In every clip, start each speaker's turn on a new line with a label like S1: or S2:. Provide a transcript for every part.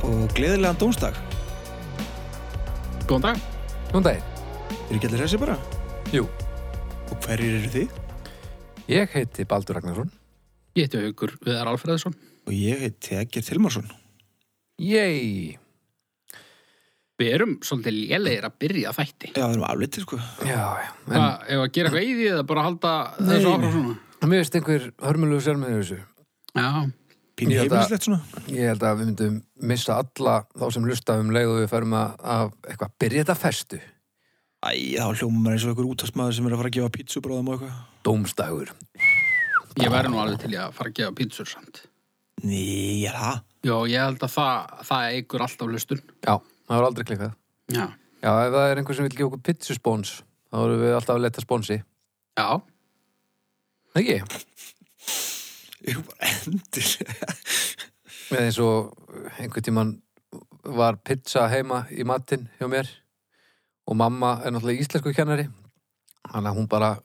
S1: gleðilegan dómsdag.
S2: Góðan dag.
S3: Nún daginn,
S1: Eru ekki allir þessi bara?
S3: jú,
S1: Og hverjir eru þið?
S3: ég heiti Baldur Ragnarsson,
S2: Ég heiti Haugur Viðar Alfreðsson.
S1: Og ég heiti Egger Tilmarsson.
S3: yey,
S2: Við erum svolítið lélegir að byrja þætti.
S1: Já, það erum aflitið, sko.
S3: já, já, en
S2: Hvað, ef að gera eitthvað í því eða bara halda
S3: Nei,
S2: þessu
S3: nei.
S2: áfram svona?
S3: mér veist einhver hörmulegu sérmið þessu.
S2: Já,
S1: Pínu
S3: Ég held að-
S1: heimilislegt svona.
S3: Ég held að við myndum missa alla þá sem lusta um leið og við færum að, að eitthvað byrja þetta festu,
S1: Æ, þá hljóma maður eins og einhver útastmaður sem er að fara að gefa pítsubráðum og eitthvað.
S3: dómstagur.
S2: ég væri nú alveg til í að fara að gefa pítsur samt.
S1: Ný, er það?
S2: Já, ég held að það, það eigur alltaf hlustun.
S3: Já, það var aldrei klikkað.
S2: Já,
S3: Já, ef það er einhver sem vil gefa okkur pizzuspons, þá erum við alltaf að leta sponsi.
S2: já,
S3: Ekki?
S1: Ég er bara endur.
S3: Eða eins og einhvern tíman var pizza heima í matinn hjá mér og mamma er náttúrulega íslensku kennari þannig að hún bara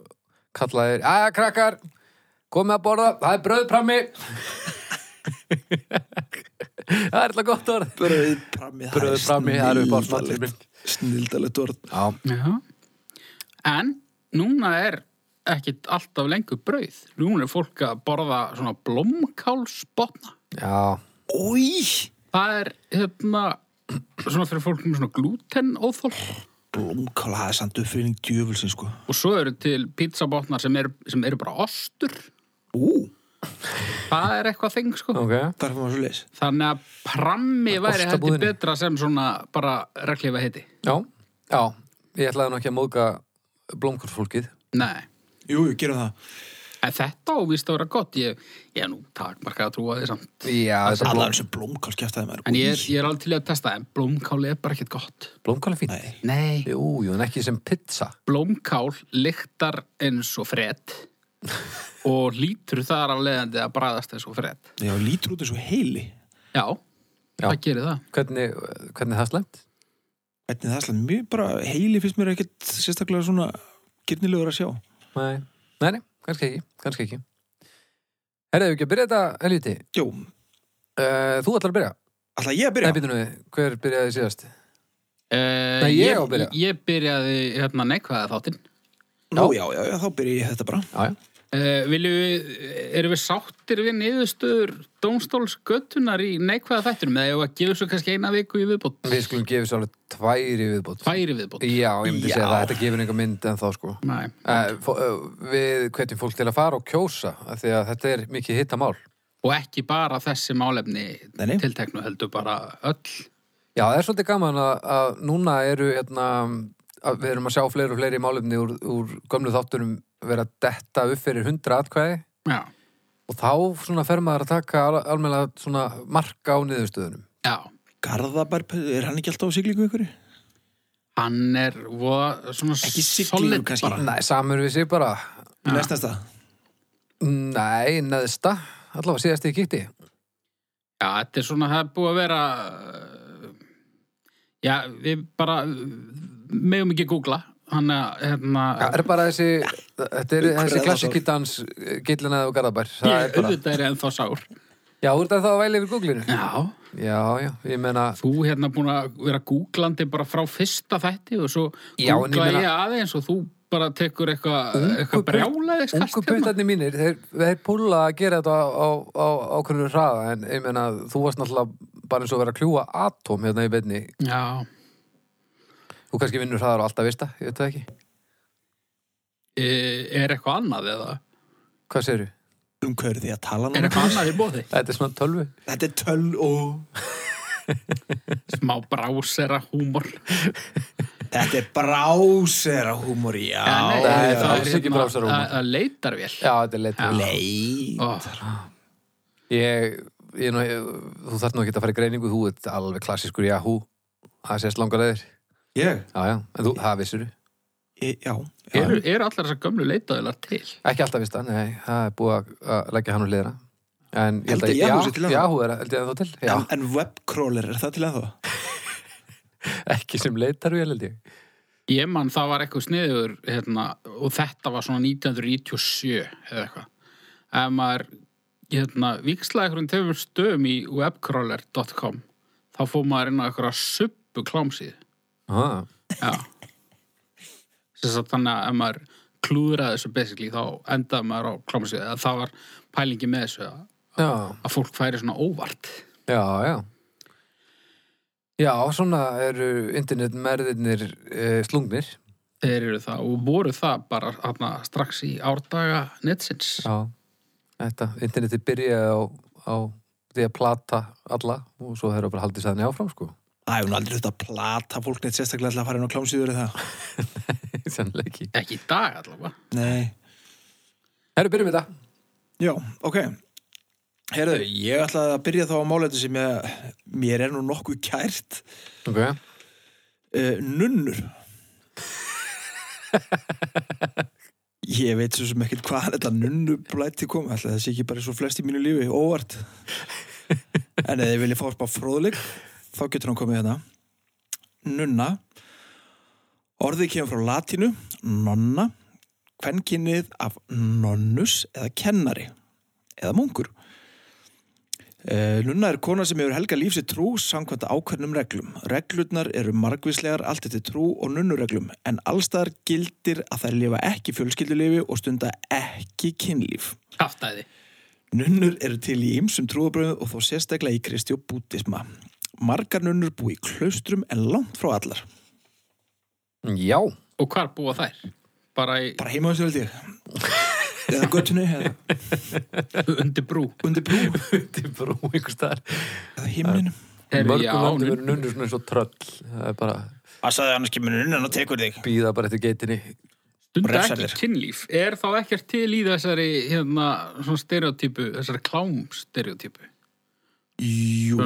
S3: kallaði Æja krakkar, komið að borða það er bröðprammi Það er alltaf gott orð
S1: Bröð frammi.
S3: Bröð frammi, það er upp á smallir minn
S1: Snildalegt orð.
S3: Já,
S2: já. En núna er ekkit alltaf lengur brauð. Núna er fólk að borða svona blómkálsbotna.
S3: já,
S1: Új!
S2: Það er, hérna, svona fyrir fólk með svona glútenóþólk.
S1: Blómkál, það er samt uppfinning djöfulsin, sko.
S2: Og svo eru til pizzabotnar sem eru, sem eru bara ostur.
S1: Ú,
S2: Það er eitthvað þing, sko.
S3: ok
S1: þar fyrir maður svo leis.
S2: Þannig að prammi væri heldur
S3: Ostabúðinni.
S2: betra sem svona bara reglifa heiti.
S3: Já, já, ég ætlaði nú ekki að móðga blómkálsfólkið
S2: Nei,
S1: Jú, jú, gerum það.
S2: en þetta ávist að vera gott. Ég, ég er nú takmarkað að trúa því samt.
S3: Já, þetta
S1: Alla
S3: blóm,
S1: eins og blómkál skjæftaði maður.
S2: En ég er, ég er alveg til í að testa, en blómkáli er bara ekkert gott.
S3: blómkál er fínt
S1: Nei.
S2: Nei.
S3: Jú, jú, en ekki sem pizza
S2: Blómkál lyktar eins og fred og lítur þar af leiðandi að bræðast eins og fred.
S1: Já, lítur út eins og heili.
S2: Já,
S3: Já.
S2: það gerir það.
S3: Hvernig, hvernig er það slæmt?
S1: Hvernig það slæmt? Mjög bara heili finnst mér ekkert sérstaklega svona gyrnilegur að sjá.
S3: Nei, nei, nei kannski ekki, kannski ekki. Herðu ekki að byrja þetta, Helviti,
S1: Jó,
S3: uh, þú ætlar að byrja.
S1: alltaf ég að
S3: Nei,
S1: byrja.
S3: býtum við, hver byrjaði síðast?
S2: Uh,
S3: Nei, ég á að byrja.
S2: Ég byrjaði hérna neikvæða þáttinn.
S1: Nú, já, já, já, þá byrja ég þetta bara.
S3: Já, já.
S2: Uh, viljum við, erum við sáttir við niðurstöður dómstólsgötunar í neikvæða þættinum eða ég var að gefa svo kannski eina viku í viðbót,
S3: Við skulum gefa svo alveg tværi viðbót.
S2: færi viðbót.
S3: Já, ég myndi segja
S1: Já.
S3: það, þetta gefur einhver mynd en þá sko.
S2: Nei,
S3: Uh, fó, uh, við hvetjum fólk til að fara og kjósa, af því að þetta er mikið hittamál.
S2: og ekki bara þessi málefni
S1: Nei, nei.
S2: tilteknu heldur bara öll.
S3: Já, það er svolítið gaman að, að núna eru, hérna, að við erum að sjá fleiri og fleiri málefni úr, úr gömlu þáttunum vera að detta upp fyrir hundra atkvæði.
S2: Já,
S3: og þá svona fer maður að taka al almenlega svona marka á niðurstöðunum
S2: já.
S1: Garðabær, er hann ekki alltaf á siglingu ykkur?
S2: Hann er voða svona
S1: Ekki siglingu
S2: solid
S1: kannski.
S2: bara.
S3: Nei, samur við sig bara
S1: Næstast það.
S3: Nei, neðsta, allavega síðast ég kíkti
S2: Já, þetta er svona, það er búið að vera uh, Já, við bara uh, megum ekki googla hann að, hérna
S3: Það er bara þessi, þetta er þessi
S1: Umhverfið
S3: klassiki dans gillinaði og garðabær Það er
S2: Ég
S3: bara,
S2: auðvitað er ennþá sár
S3: Já, úr þetta þá að væli yfir googlinu
S2: Já,
S3: Já, já, ég meina
S2: þú hérna búin að vera googlandi bara frá fyrsta þætti og svo
S3: Já, en ég
S2: googla ég,
S3: meina-
S2: aðeins og þú bara tekur eitthvað hérna.
S3: Ungu
S2: eitthva
S3: putt-
S2: brjálaðis
S3: Ungu bautarnir mínir, þeir, þeir púla að gera þetta á, á, á ákveðinu hraða en ég meina, þú varst náttúrulega bara eins og vera að kljúa atóm hérna í beinni
S2: Já,
S3: Þú kannski vinnur hraðar og alltaf veist það, ég veit það ekki
S2: e, er eitthvað annað eða?
S3: Hvað segirðu?
S1: Um hverju því að tala
S2: Er
S1: núna?
S2: eitthvað annað í bóði?
S3: Þetta er svona tölvu
S1: Þetta er töl og...
S2: Smá brásera húmor
S1: Þetta er brásera húmor, já.
S2: Nei,
S3: það er
S2: það
S3: alls ekki
S2: hérna-
S3: brásera húmor.
S2: það- Það leitar vel
S3: Já, þetta er leitt
S2: Já.
S1: Nei.
S2: Ó,
S3: ég, ég, nú- ég, Þú þarf nú ekki að fara í greiningu Þú ert alveg klassískur Yahoo Það sést langar leðir Já,
S1: Ég?
S3: já, en þú, það vissur
S1: Ég- Já. já.
S2: Eru, eru allar þessar gömlu leitaðilar til?
S3: Ekki alltaf vist það, nei, það er búið að- að leggja hann úr leðra En ég held
S1: Heldur
S3: að
S1: Yahoo sé til
S3: já,
S1: ennþá?
S3: Yahoo er held ég að þá til Já,
S1: En, en webcrawler, er það til ennþá?
S3: ekki sem leitar við held ég
S2: Ég mann það var eitthvað sniður hérna, og þetta var svona 1997 eða eitthvað. Ef maður hérna, vikslaði einhverjum tveimur stöðum í webcrawler.com þá fór maður inn á einhverja suppu klámsið
S3: Ah,
S2: já þess að þannig að ef maður klúðraði þessu basically þá endaði maður á klámsið eða það var pælingi með þessu að,
S3: já,
S2: að fólk færi svona óvart
S3: já, já. Já, svona eru internetmerðinir e, slungnir.
S2: þeir eru það og voru það bara hana, strax í árdaga netsins
S3: Já. Þetta, interneti byrjaði á, á því að plata alla og svo þeirra bara haldið sæðinni áfram, sko.
S1: Það hefur nú aldrei þetta að plata fólk neitt sérstaklega til að fara inn á klámsýður eða það.
S3: Sannlega ekki.
S2: ekki í dag allavega
S1: Nei.
S3: Herru, byrjum við þetta.
S1: Já, ok. Herðu, ég ætlaði að byrja þá á málætu sem ég, mér er nú nokkuð kært.
S3: Ok.
S1: Uh, nunnur. ég veit svo sem ekkert hvað þetta nunnublæti kom. Ætlaði það sé ekki bara svo flest í mínu lífi, óvart. en ef þið viljið fá spá fróðleik, þá getur hann komið hérna. Nunna. Orðið kemur frá latinu, nonna, kvenkinnið af nonnus eða kennari eða munkur. Eh, Nunna er kona sem hefur helga lífsi trú samkvæmt ákveðnum reglum. Reglurnar eru margvíslegar allt eftir trú og nunnureglum en allstaðar gildir að þær lifa ekki fjölskyldulifi og stunda ekki kynlíf.
S2: kraftæði
S1: Nunnur eru til í ymsum trúabröðu og þó sérstaklega í kristi og bútisma. Margar nunnur búi í klaustrum en langt frá allar.
S3: Já.
S2: og hvar búa þær? bara í,
S1: Bara heima þessu held ég. Eða göttunni, eða
S2: undir brú
S1: undir brú,
S3: Þetta er bara úr einhver staðar.
S1: eða himninum.
S2: Heyrðu,
S3: Mörgum
S2: já,
S3: landi
S2: nun-
S3: verður nunnur svona eins og tröll. Það er bara
S1: Það sagði annars kemur nunnan og tekur þig.
S3: býða bara eftir geitinni.
S2: stundar
S1: refsar
S2: ekki
S1: þér.
S2: kynlíf er þá ekkert til í þessari hérna, svona stereotypu, þessari klámstereotypu
S1: Jú,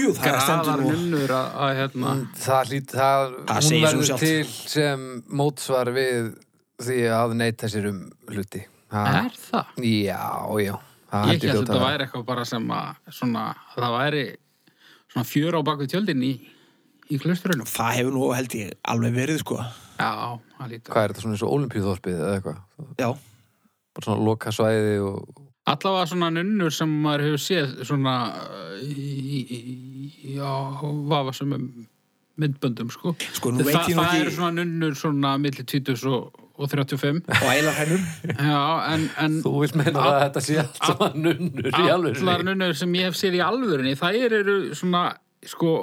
S1: jú, það er stendur nú.
S2: nunnur að, að hérna
S3: Mm, Það hlýt, það,
S1: Það segir
S3: hún
S1: sig
S3: verður
S1: sjálft.
S3: til sem mótsvar við því að neyta sér um hluti. Ha,
S2: er það?
S3: já, já. Það
S2: ég
S3: held
S2: held að
S3: hljóta
S2: þetta
S3: að-
S2: væri eitthvað bara sem að svona, að það væri svona fjör á baku tjöldin í, í klaustrunum
S1: Það hefur nú held ég alveg verið sko
S2: já, það lítur
S3: Hvað er þetta svona eins og olimpíuþorpið eða eitthvað?
S1: Já,
S3: Bara svona loka svæði og...
S2: Allavega svona nunnur sem maður hefur séð svona uh, í, í, í- já, vafa sem myndböndum sko.
S1: Sko, nú veit
S2: Þa,
S1: ég nú
S2: það
S1: ekki-
S2: eru svona nunnur svona milli 20 og, og 35
S1: og ælar hennur
S2: já, en, en
S3: Þú vilt meina að þetta sé allt saman nunnur í
S2: allar
S3: alveg.
S2: nunnur sem ég hef séð í alvörinni þær eru svona sko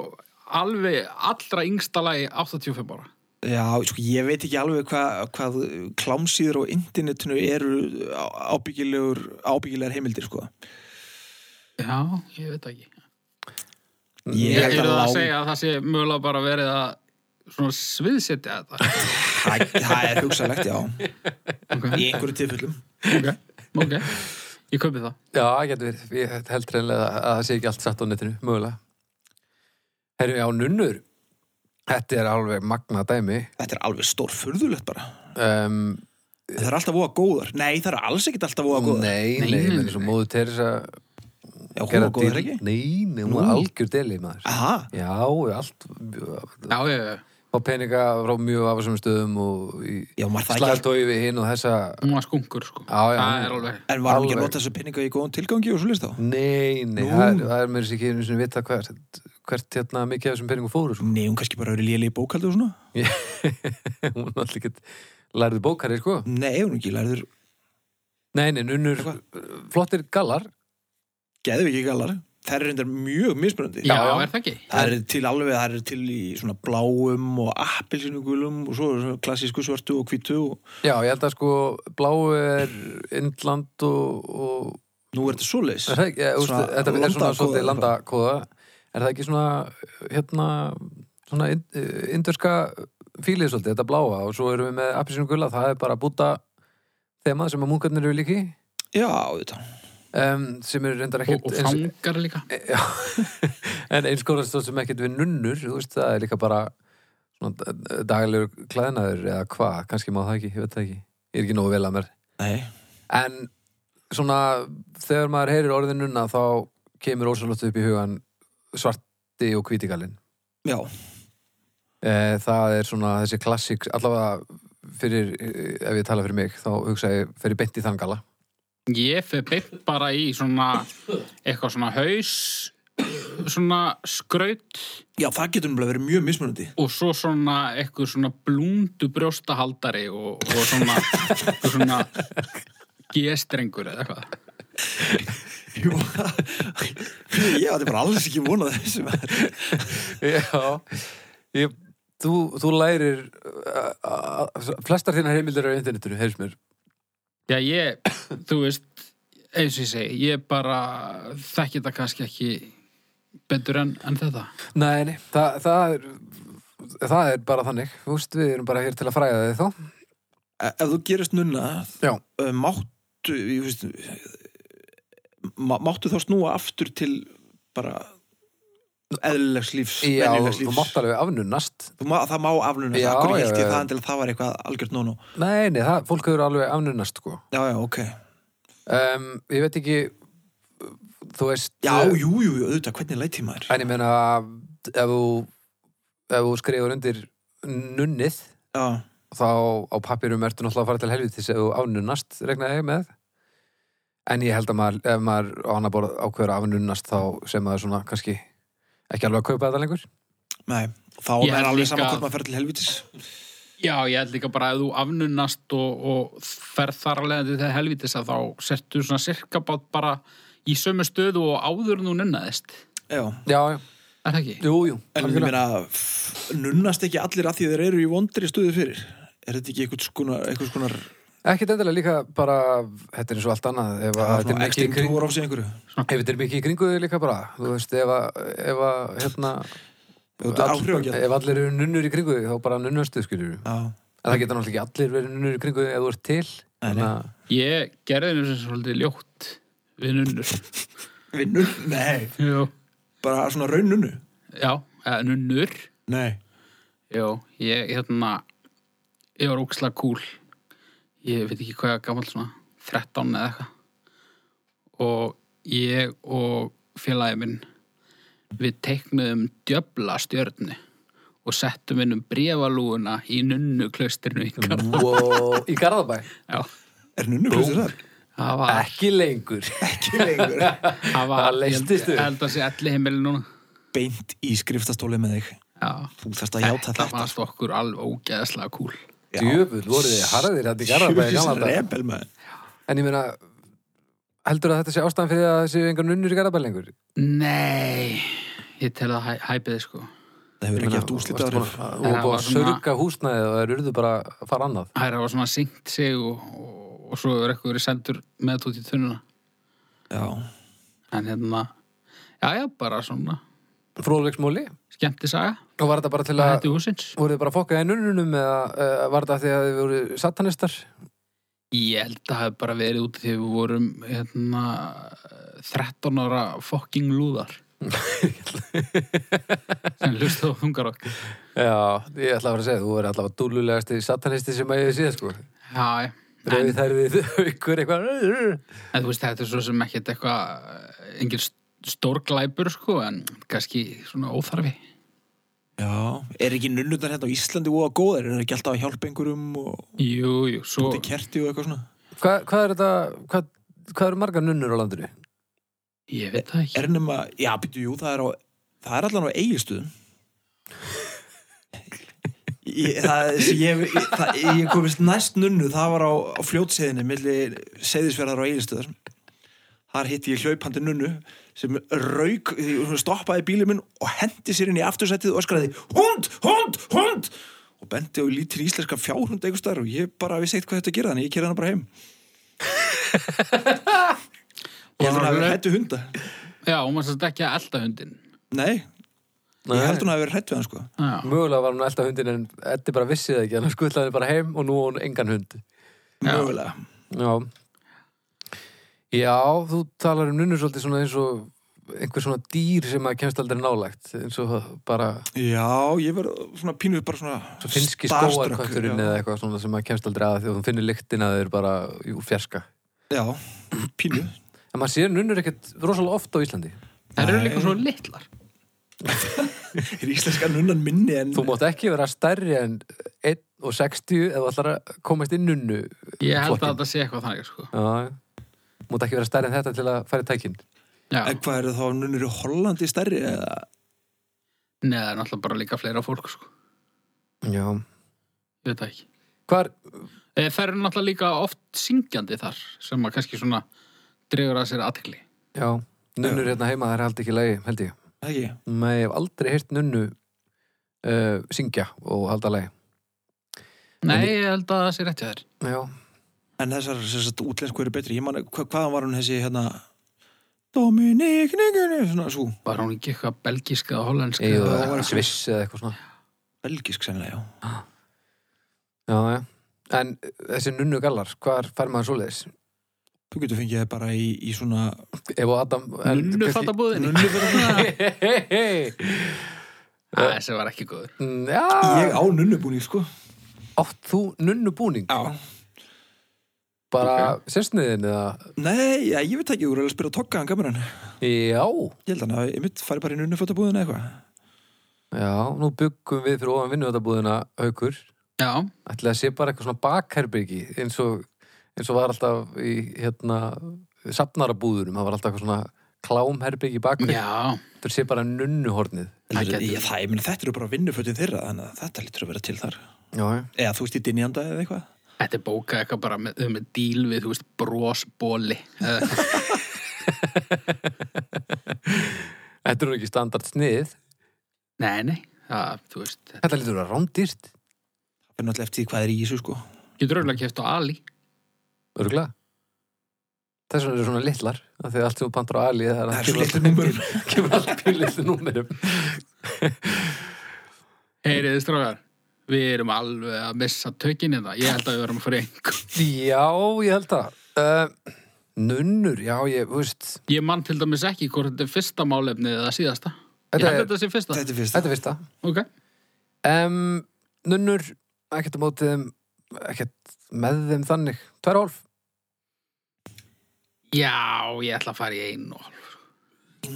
S2: alveg allra yngsta lagi 85 ára
S1: Já, sko, ég veit ekki alveg hvað, hvað klámsýður og internetinu eru ábyggilegur, ábyggilegar heimildir sko
S2: já, ég veit það ekki
S1: Ég
S2: ég
S1: held
S2: er
S1: að
S2: það
S1: lá,
S2: að segja að það sé mögulega bara verið að svona sviðsetja þetta
S1: það, það er hugsalegt, já
S2: Ok.
S1: Í einhverju tilfellum
S2: ok, ok, ég kaupi það
S3: Já, getur verið. Ég held reynlega að það sé ekki allt satt á netinu, mögulega. Herru, já, nunnur. Þetta er alveg magna dæmi.
S1: Þetta er alveg stór furðulegt bara
S3: Um,
S1: Það er alltaf voða góðar Nei, það er alls ekkert alltaf voða góðar
S3: nei,
S2: Nei,
S3: nei, nei,
S2: nei,
S3: menn eins og
S2: nei.
S3: móðu Teresa
S1: Já, hún
S3: gerða
S1: var góðar ekki
S3: Nei, nei, hún
S1: Nú.
S3: var
S1: Ah.
S3: algjör delið maður.
S1: Aha,
S3: Já, allt
S2: já, já, já,
S3: á peninga frá mjög afasum stöðum og í
S1: já, maður það ekki
S3: slagtói við hinn og þessa
S2: hún var skunkur sko
S3: Já, já, hún-
S2: það er alveg
S1: En var hún ekki að
S3: Alveg.
S1: nota þessu peninga í góðum tilgangi og svo list þá?
S3: Nei,
S1: Nú.
S3: nei, það er, það er mér sér ekki einu sinni vita hvert, hvert hérna mikið af þessum peningum fóru sko.
S1: Nei, hún kannski bara verið léli í bókaldi og svona
S3: hún er alltaf ekki lærðu bókari sko.
S1: Nei, hún er ekki lærður
S3: Nei, nei, nunnur
S1: Eitthvað?
S3: flottir gallar
S1: geðviki gallar þær eru reyndar mjög mismunandi
S2: já,
S3: já.
S2: er það ekki
S1: það eru til alveg, það eru til í svona bláum og appelsinugulum og svo eru svona klassísku svörtu og hvítu og
S3: Já, ég held að sko bláu er Indland og, og
S1: nú er þetta svoleiðis
S3: er það ekki, eða, úst,
S1: Svona
S3: þetta er svona
S1: landakóða-
S3: svolítið landakóða er það ekki svona hérna svona ind- eh, indverska fílið svolítið, þetta bláa og svo erum við með appisinu gula, það er bara búta þema sem að munkarnir eru líki
S1: já, þetta
S3: um, sem eru reyndar
S2: og,
S3: ekkert
S2: og
S3: eins,
S2: fangar líka
S3: en einskóðast það sem ekkert við nunnur þú veist, það er líka bara svona d- daglegur klæðnaður eða hvað, kannski má það ekki, ég veit það ekki ég er ekki nógu vel að mér
S1: nei,
S3: En svona þegar maður heyrir orðin nunna þá kemur ósalótt upp í hugan svarti og hvítigalinn.
S1: já,
S3: E, það er svona þessi klassik, allavega fyrir, eh, ef ég tala fyrir mig, þá hugsa ég fyrir beint í þann gala.
S2: ég fer beint bara í svona eitthvað svona haus svona skraut
S1: Já, það getur nefnilega verið mjög mismunandi.
S2: og svo svona eitthvað svona blúndu brjóstahaldari og, og svona, eitthvað svona gestrengur eða eitthvað.
S1: Jú, ég átti bara alls ekki vonað þessu. E, maður.
S3: Já, ég, þú, þú lærir uh, uh, flestar þínar heimildir á internetinu, heyrst mér.
S2: Já, ég, þú veist, eins og ég segi, ég bara þekki þetta kannski ekki betur en, en þetta.
S3: Nei, nei, það, það, er, það er bara þannig, þú veist, við erum bara hér til að fræða þig þá.
S1: E- Ef þú gerist nunna,
S3: Já.
S1: eh, máttu, ég veist, e, ma- máttu þá snúa aftur til bara eðlilegs lífs,
S3: Já,
S1: venjulegs
S3: þú
S1: lífs.
S3: mátt alveg afnunast.
S1: Þú má, það má afluna
S3: Já,
S1: það, okkur
S3: já,
S1: held ég
S3: já.
S1: það en til það var eitthvað algjört nónó.
S3: Nei, nei, það, fólk hefur alveg afnunast, sko.
S1: Já, já, ok.
S3: Um, ég veit ekki, þú veist... eh,
S1: Já, jú, jú, jú, auðvitað, hvernig læti maður?
S3: En ég meina, ef þú, ef þú skrifur undir nunnið,
S1: Já,
S3: þá á pappirum ertu náttúrulega að fara til helvitis ef þú afnunast, regna ég með en ég held að maður, ef maður á annað borð ákveður að afnunast þá sem maður svona kannski ekki alveg að kaupa þetta lengur
S1: nei, þá
S2: Ég
S1: er
S2: held
S1: alveg
S2: líka-
S1: saman hvort maður fer til helvitis.
S2: Já, ég held líka bara að þú afnunast og, og ferð þar alveg til þegar helvítis að þá settu svona sirkabátt bara í sömu stöðu og áður en þú nunnaðist.
S1: Já,
S3: já, já,
S2: Er það ekki?
S3: jú, jú
S1: en ég
S3: algjörlega.
S1: meina, f- nunnast ekki allir að því þeir eru í vondri stuðu fyrir? Er þetta ekki einhvers konar, einhvers konar,
S3: ekkert endilega líka bara þetta er eins og allt annað ef að þetta er
S1: svona
S3: mikið í
S1: ekstrem
S3: kring-
S1: trúar á sig einhverju?
S3: ef þetta er mikið í kringu þig líka bara þú veist, ef að, ef að hérna,
S1: Ef Þú ert áhrifagjarn.
S3: ef allir eru nunnur í kringu þig þá bara nunnastu skilur en
S1: Já,
S3: það geta náttúrulega ekki allir verið nunnur í kringu þig ef þú ert til
S1: Nei, nei.
S3: Þannig að-
S2: Ég gerði henni sem svolítið ljótt við nunnur.
S1: vinnur? Nei.
S2: Jú.
S1: Bara svona raun nunnu?
S2: Já, eða nunnur.
S1: Nei.
S2: Já, ég, hérna, ég var ókslega kúl. Ég veit ekki hvað ég var gammal svona, 13 eða eitthvað. Og ég og félagi minn, við teiknuðum djöbla stjörnu og settum inn um brefalúuna í nunnu klaustrinu ykkar.
S3: Wow, í Garðabæ
S2: Já,
S1: Er nunnu hljósið þar?
S2: það var...
S3: ekki lengur
S1: Ekki lengur.
S2: Það
S3: það leystist
S2: Ég
S3: upp.
S2: held að sé allir heimili núna.
S1: Beint í skriftastóli með þig.
S2: Já.
S1: Þú þarft að játa
S2: Þetta
S1: þetta.
S2: var okkur alveg ógeðslega kúl.
S1: Já.
S3: Djöfull, voruð þið harðir þetta í Garðabæ í
S1: Jöfis
S3: gamla dag.
S1: rebel maður.
S3: En ég meina, heldur að þetta sé ástæðan fyrir að það séu engar nunnur í Garðabæ lengur?
S2: Nei, ég tel að hæ, hæpiði sko.
S1: Það hefur
S3: Ég
S1: ekki
S3: meina,
S1: haft úslit
S3: varstu
S1: árið.
S3: búin
S2: En
S3: að- Og
S2: það
S3: búið
S2: var
S3: að
S2: svona-
S3: sörga húsnæði og þeir urðu bara að fara annað.
S2: Það var svona syngt sig og, og, og svo er eitthvað verið sendur með þetta út í tunnuna.
S1: Já.
S2: En hérna, já, já, bara svona
S3: Fróðleiksmóli?
S2: skemmti saga.
S3: Og var þetta bara til
S2: Það
S3: að,
S2: hætti húsins.
S3: voruð þið bara fokkaði nunnunum eða uh, var þetta af því að þið voru satanistar?
S2: Ég held að það hef bara verið út þegar við vorum hérna 13 ára fucking lúðar. Sem hlustu á þungar okkur.
S3: Já, ég ætla að vera að segja, þú voru allavega dúlulegasti satanisti sem að ég hef séð, sko.
S2: Já, já.
S3: Rauði þærðið ykkur eitthvað.
S2: En þú veist, þetta er svo sem ekkert eitthvað, eh, engin stórglæpur, sko, en kannski svona óþarfi.
S1: Já. Er ekki nunnunar hérna á Íslandi og að góðar? Er það ekki alltaf að hjálpa einhverjum og
S2: Jú, jú, svo...
S1: búti kerti og eitthvað svona?
S3: Hva, hvað er þetta, hvað, hvað eru margar nunnur á landinu?
S2: Ég veit það ekki.
S1: Er nema, já, býtu, jú, það er á, það er allan á eigistuðum. Ég, það, ég, ég, það, ég komist næst nunnu, það var á, á fljótseiðinni, milli seiðisverðar og eigistuðar. Þar hitti ég hlaupandi nunnu sem rauk, því hún stoppaði bílið minn og hendi sér inn í aftursætið og öskraði hund, hund, hund og bendi á lítil íslenska fjárhund einhvers staðar og ég bara vissi eitt hvað þetta að gera þannig ég kerði hana bara heim ég held hún að vera hættu hunda
S2: Já, hún var svolítið ekki að elda hundin.
S1: nei, Ég held hún að hafa verið hrætt við hann sko
S2: Já,
S3: Mögulega var hún að elda hundin en Eddi bara vissi það ekki, hann skutlaði bara heim og nú á hún engan hund.
S1: Mögulega
S3: Já. Já, þú talar um nunnur svolítið svona eins og einhver svona dýr sem að kemst aldrei nálægt, eins og bara
S1: Já, ég verð svona pínuð bara svona
S3: svo finnski
S1: starstruck,
S3: skóarkötturinn eða eitthvað svona sem að kemst aldrei að því að þú finnir lyktin að þeir bara úr fjarska.
S1: Já, já pínuð
S3: En maður sér nunnur ekkert rosalega oft á Íslandi.
S2: það eru
S1: Nei.
S2: líka svo litlar.
S1: Er íslenska nunnan minni en
S3: Þú mátt ekki vera stærri en 1 og 60 ef þú ætlar að komast inn nunnu.
S2: Ég held að
S3: flokkinn.
S2: þetta sé eitthvað þannig, sko.
S3: Já, já. Mátt ekki vera stærri en þetta til að fara í tækinn.
S2: Já,
S1: En hvað eru þá nunnur í Hollandi stærri eða?
S2: neða, það er náttúrulega bara líka fleira fólk, sko.
S3: Já.
S2: Ég veit það ekki.
S3: Hvar,
S2: Eh, Það eru náttúrulega líka oft syngjandi þar sem að kannski svona dregur að sér aðtekli.
S3: já, nunnur hérna heima, það er held ekki lægi, held ég.
S1: Ekki?
S3: Nei, ég hef aldrei heyrt nunnu uh, syngja og halda lægi.
S2: Nei, ég held að það sé rétt hjá þér.
S3: Já,
S1: En þessar sem sagt, útlensku eru betri. Ég man, hva, hvaðan var hún þessi hérna Dominik Nikinu, svona svo
S2: Var hún ekki eitthvað belgíska eða hollenska?
S1: það
S3: eða
S1: var
S3: eitthvað
S1: eitthvað.
S3: sviss eða eitthvað svona.
S1: belgisk sennilega, já.
S3: Já, já. En þessi nunnu gallar, hvar fær maður svoleiðis?
S1: Þú getur fengið það bara í, í svona
S3: Ef og Adam...
S2: Nunnu fatta búðinni?
S1: nunnufatabúðinni.
S3: Hei, hei, hei.
S2: Þessi var ekki góður.
S1: Ég
S3: Já,
S1: á nunnubúning, sko.
S3: átt þú nunnubúning?
S1: Já.
S3: Bara okay. sérsniðin eða?
S1: Nei, já, ég veit ekki, þú eru alveg að spyrja tokka hann kameran.
S3: Já,
S1: Ég held hann að ég mitt fari bara í nunnufatabúðinni eitthvað.
S3: já, nú byggum við fyrir ofan vinnuðatabúðina haukur.
S2: Já,
S3: Ætli að sé bara eitthvað svona bakherbyrgi eins og, eins og var alltaf í hérna safnarabúðunum. Það var alltaf eitthvað svona klámherbyrgi bakherbyrgi.
S2: já,
S3: Þetta sé bara nunnuhornið.
S2: Það
S1: Þetta er-
S2: gæti
S1: Ég, það, ég meina, þetta eru bara vinnufötin þeirra, þannig að þetta lítur að vera til þar.
S3: Já, já.
S1: Eða þú veist í dinjanda eða eitthvað.
S2: þetta er bókað eitthvað bara með, með díl við, þú veist, brosbóli. Eh,
S3: Þetta er nú ekki standart snið.
S2: Nei, nei, það, þú veist,
S3: Þetta lítur að vera rándýrt.
S1: Það er náttúrulega eftir því hvað er í þessu, sko.
S2: getur örugglega kæft á Ali.
S3: Örgulega. Þess vegna eru svona litlar. af Því að allt sem þú pantar á Ali, það er
S1: Það
S3: að
S1: er svo litlu númer.
S3: kemur allt í litlu númerum.
S2: Heyriði strágar, við erum alveg að missa tökinn hérna. Ég held að við erum að fara í einhver.
S3: Já, ég held að. Uh, nunnur, já, ég, þú veist.
S2: Ég man til dæmis ekki hvort þetta er fyrsta málefnið eða síðasta. Ég held
S3: Þetta
S2: að
S3: er,
S2: þetta sé fyrsta.
S1: Þetta er fyrst.
S3: þetta er fyrsta.
S2: Ok.
S3: Um, nunnur, ekkert á mótið þeim, ekkert með þeim þannig. Tvær og hálf.
S2: Já, ég ætla að fara í einu og hálf.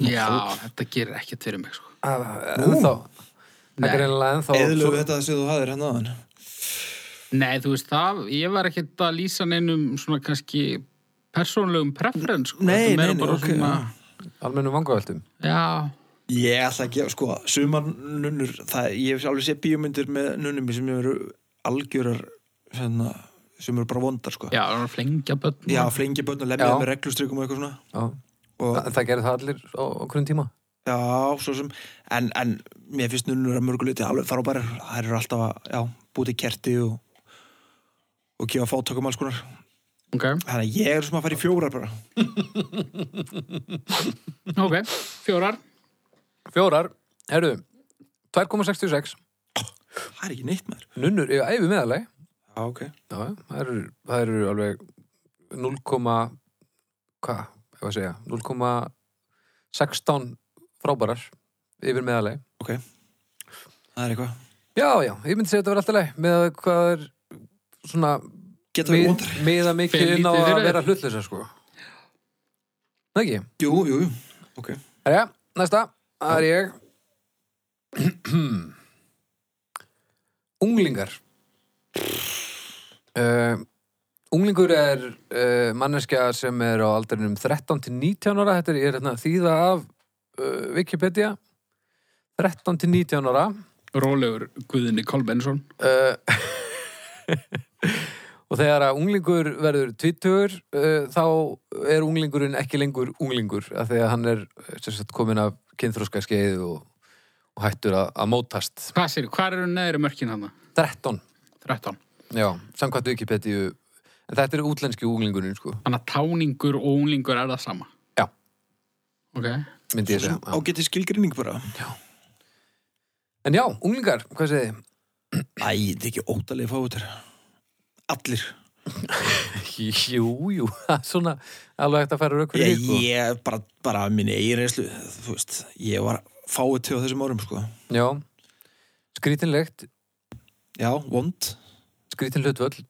S2: Já, þetta gerir ekkert fyrir mig, sko.
S3: Ah, Það
S1: Nú.
S2: Nei.
S3: Þetta er einlega ennþá.
S1: Eðlu
S3: svo-
S1: þetta sem þú hafðir hérna hann aðan.
S2: Nei, þú veist það, ég var ekkert að lýsa neinum svona kannski persónlegum preference, sko.
S1: Nei,
S2: Þetta er meira
S1: nei, nei,
S2: bara
S1: ok,
S3: Almennum vangaveltum.
S2: Já,
S1: Ég ætla ekki að, sko, sumar nunnur, það, ég hef alveg séð bíómyndir með nunnum sem eru algjörar, svona, sem eru bara vondar, sko.
S2: já, það var flengja börn.
S1: Já, flengi börn og lemja
S3: Já.
S1: þeim með reglustrykum og eitthvað svona.
S3: Já.
S1: Og,
S3: Það, það gerir það allir á okkurum tíma.
S1: já, svo sem, en, en mér finnst nunnur að mörguleiti alveg frábærar. Það eru alltaf að, já, búti kerti og, og gefa fátökum alls konar.
S2: Ok,
S1: Þannig að ég er sem að fara í fjórar bara.
S2: ok, fjórar.
S3: Fjórar, herru, 2,66
S1: Það er ekki neitt maður.
S3: Nunnur yfir æfi meðaleg
S1: Já, ok.
S3: Já, já, það eru, það eru alveg 0, hvað ég að segja, 0,16 frábærar yfir meðaleg
S1: Það er eitthvað.
S3: Já, já, ég myndi segja þetta verið alltaf leið með að hvað er svona
S1: Geta verið
S3: mið-
S1: vondar.
S3: miða
S2: Fer
S3: mikið inn á
S2: lítið
S3: að
S2: fyrir
S3: vera hlutleysa sko Það ekki?
S1: Jú, jú, jú. Ok.
S3: Herja, næsta, það er ég Unglingar uh, Unglingur er uh, manneskja sem er á aldrinum 13 til 19 ára Þetta er, ég er hérna, að þýða af uh, Wikipedia 13 til 19 ára
S2: Rólegur Guðinni Kolbensson.
S3: uh, Og þegar að unglingur verður 20 uh, þá er unglingurinn ekki lengur unglingur af því að hann er eh, sem sagt, komin af kynþróska skeið og, og hættur að, að mótast
S2: Hvað sér, hvað eru neðri mörkin hann?
S3: 13
S2: 13.
S3: Já, samkvæmt Wikipedia en þetta er útlenski úglingurinn sko
S2: Þannig að táningur og unglingur er það sama.
S3: Já.
S2: Ok,
S3: myndi ég segja
S1: Á
S3: já.
S1: getið skilgrinning bara.
S3: En já, unglingar, hvað segið þið?
S1: Æ, þetta er ekki ótalegi fáutur. Allir.
S3: Jú, jú, svona alveg hægt að færa rauk fyrir sko.
S1: Ég, ég bara, bara minni eigin reynslu, þú veist, ég var fáuti á þessum árum, sko.
S3: sko Já, skrítinlegt
S1: Já, vond.
S3: skrítin hlutvöll,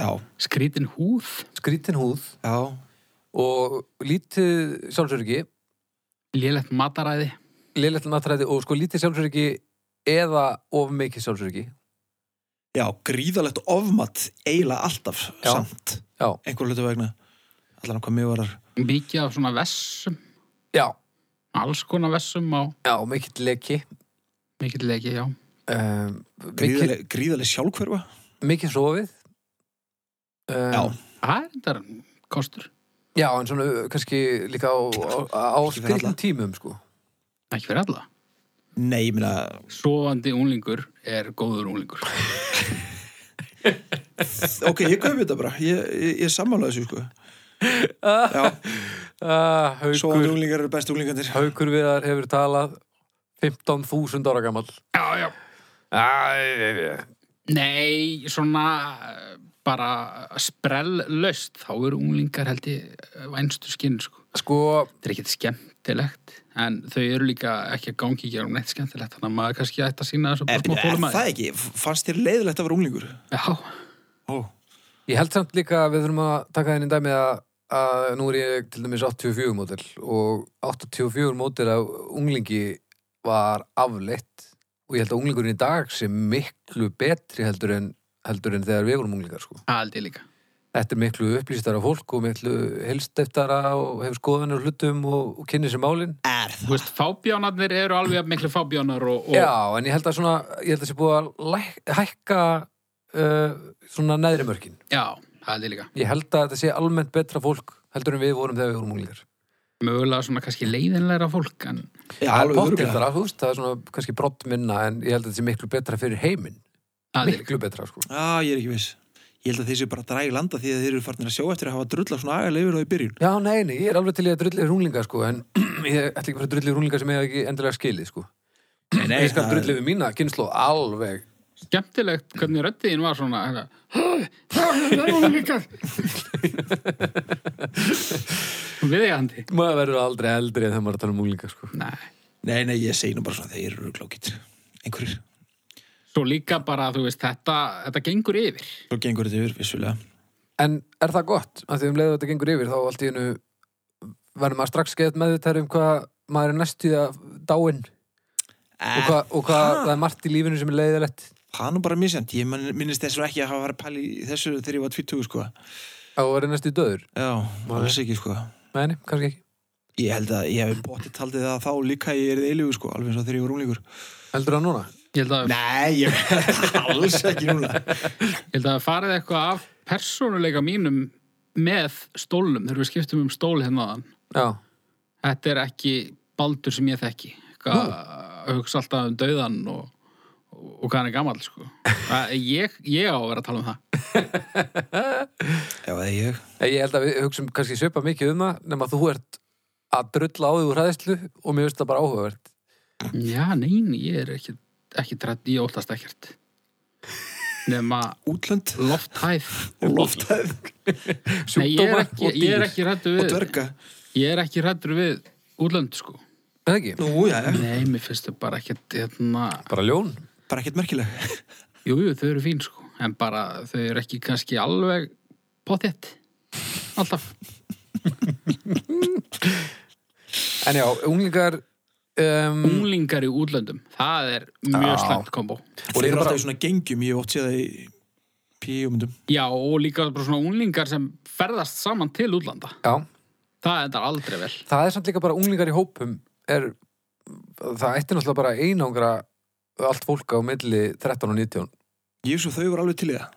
S1: Já,
S2: skrítin húð,
S3: skrítin húð
S1: já.
S3: og lítið sjálfsöryggi
S2: lélegt mataræði.
S3: liðlegt náttræði og sko lítið sjálfsöryggi eða of mikið sjálfsöryggi
S1: Já, gríðalegt ofmat eiginlega alltaf
S3: Já.
S1: samt.
S3: Já.
S1: Einhver hlutu vegna. Allan hvað mjög varar.
S2: Mikið af svona vessum.
S3: Já,
S2: Alls konar vessum á
S3: já, mikill leki
S2: mikill leiki, já.
S3: um, mikill,
S1: Gríðarlega gríðaleg sjálfhverfa
S3: mikill sofið um,
S2: Það er þetta kostur.
S3: já, en svona uh, kannski líka á, á, á
S1: Ekki fyrir alla.
S3: skriðin tímum sko.
S2: Ekki fyrir alla.
S1: Nei, ég meina,
S2: Sofandi unglingur er góður unglingur.
S1: ok, ég kaupi þetta bara Ég, ég, ég sammála þessu, sko Já, sóðan
S3: uh, haukur,
S1: unglingar eru best unglingandir
S3: haukur viðar hefur talað 15.000 ára gamall
S2: Já, já.
S3: Æ,
S2: Nei, svona eh, bara sprellaust þá eru unglingar held ég eh, vænstu skinn, sko.
S3: sko
S2: Þetta er ekkert skemmtilegt en þau eru líka ekki að gangi ekki á neitt skemmtilegt þannig að maður kannski ætti að sína þessu
S1: Er,
S2: bara smá
S1: Eh, er
S2: þólum
S1: það ekki? F- Fannst þér leiðilegt að vera unglingur?
S2: Já,
S1: Ó,
S3: Ég held samt líka að við þurfum að taka þenni dæmi að, að nú er ég til dæmis 84 mótil og 84 mótil af unglingi var afleitt og ég held að unglingurinn í dag sé miklu betri heldur en, heldur en þegar við vorum unglingar sko.
S2: það held ég líka.
S3: Þetta er miklu upplýstara fólk og miklu helsteftara og hefur skoðanir á hlutum og, og kynni sér málin
S1: er
S2: Þú veist, fábjánarnir eru alveg jafn miklu fábjánar og, og
S3: Já, en ég held að svona, ég held að sé búið að læk, hækka uh, svona neðri mörkin.
S2: Já, það held ég líka.
S3: Ég held að þetta sé almennt betra fólk heldur en við vorum þegar við vorum unglingar.
S2: Mögulega svona kannski leiðinlegra fólk en
S1: Já,
S3: það er
S1: alveg örugglega.
S3: pottþéttara, þú veist, það er svona kannski brott minna en ég held að þetta sé miklu betra fyrir heiminn.
S2: það held ég líka.
S3: Miklu betra, sko.
S1: Já, ég er ekki viss Ég held að þeir séu bara að draga í landa því að þeir eru farnir að sjá eftir að hafa drulla svona agalega yfir þá í byrjun
S3: Já, nei, nei, ég er alveg til í að drulli yfir unglinga, sko, en ég ætla ekki að fara að drulli yfir unglinga sem ég ekki endilega skilið, sko.
S1: Nei, nei,
S3: ég skal um.
S1: það er-
S3: drulli yfir mína kynnslóð alveg.
S2: skemmtilegt hvernig röddiðin var svona eitthvað, það er unglingar viðegandi
S3: Maður verður aldrei eldri en þegar maður er að tala um unglinga, sko.
S2: Nei.
S1: Nei, nei, ég segi nú bara svona þeir eru glókit Einhverjir,
S2: svo líka bara þú veist þetta, þetta gengur yfir
S1: svo gengur þetta yfir, vissulega
S3: En er það gott? Af því um leiðu þetta gengur yfir þá allt í hennu verður maður strax skeitt meðvitað um hvað maður er næstu í að dáin og hvað, og hvað það er margt í lífinu sem er leiðilegt
S1: Það er nú bara misjant, ég man- minnist þess vegna ekki að hafa verið að pæla í þessu þegar ég var 20 sko.
S3: að verður næstu í döður.
S1: Já, alls ekki sko.
S3: Nei, nei, kannski ekki.
S1: Ég held að ég hef bóttið taldið það þá líka að ég er eiligur sko, alveg eins og þegar ég var unglingur.
S3: Heldur það núna?
S2: ég held að,
S1: Nei, ég alls ekki núna.
S2: ég held að farið eitthvað af persónuleika mínum með stólnum þegar við skiptum um stól hérna þann
S3: Já.
S2: þetta er ekki baldur sem ég þekki eitthvað að hugsa alltaf um dauðan og, og hvað hann er gamall sko. Það- ég, ég á að vera að tala um það
S1: Já, það er ég.
S3: En Ég held að við hugsum kannski svipa mikið um það nema þú ert að drulla á því úr hræðislu og mér finnst það bara áhugavert.
S2: Já, nein, ég er ekki, ekki drætt, ég óttast ekkert. Nefna
S1: Útlönd
S2: lofthæð.
S1: og loftæð
S2: Nei, ég er
S3: Sjúkdómar
S2: ekki,
S3: og
S2: ég er
S3: dýr.
S2: ekki rættur
S1: og
S2: við,
S1: dverga.
S2: ég er ekki rættur við útlönd, sko.
S3: Er það ekki?
S1: Nú, já, já.
S2: Nei, mér finnst þau bara ekkert, hérna,
S3: Bara ljón.
S1: Bara ekkert merkileg.
S2: jú, jú, þau eru fín, sko. En bara, þau eru ekki kannski alveg potið. Alltaf.
S3: En já, unglingar... Um,
S2: Mm. Unglingar í útlöndum, það er mjög
S3: Já.
S2: slæmt kombo.
S3: Og
S1: Þeir
S3: líka
S1: eru
S3: bara-
S1: alltaf í svona gengjum, ég hef oft séð það í píumundum.
S2: Já, og líka bara svona unglingar sem ferðast saman til útlanda.
S3: já,
S2: Það endar aldrei vel.
S3: það er samt líka bara unglingar í hópum er, það ætti náttúrulega bara að einangra allt fólk á milli 13 og 19
S1: Ég svo þau voru alveg til í það.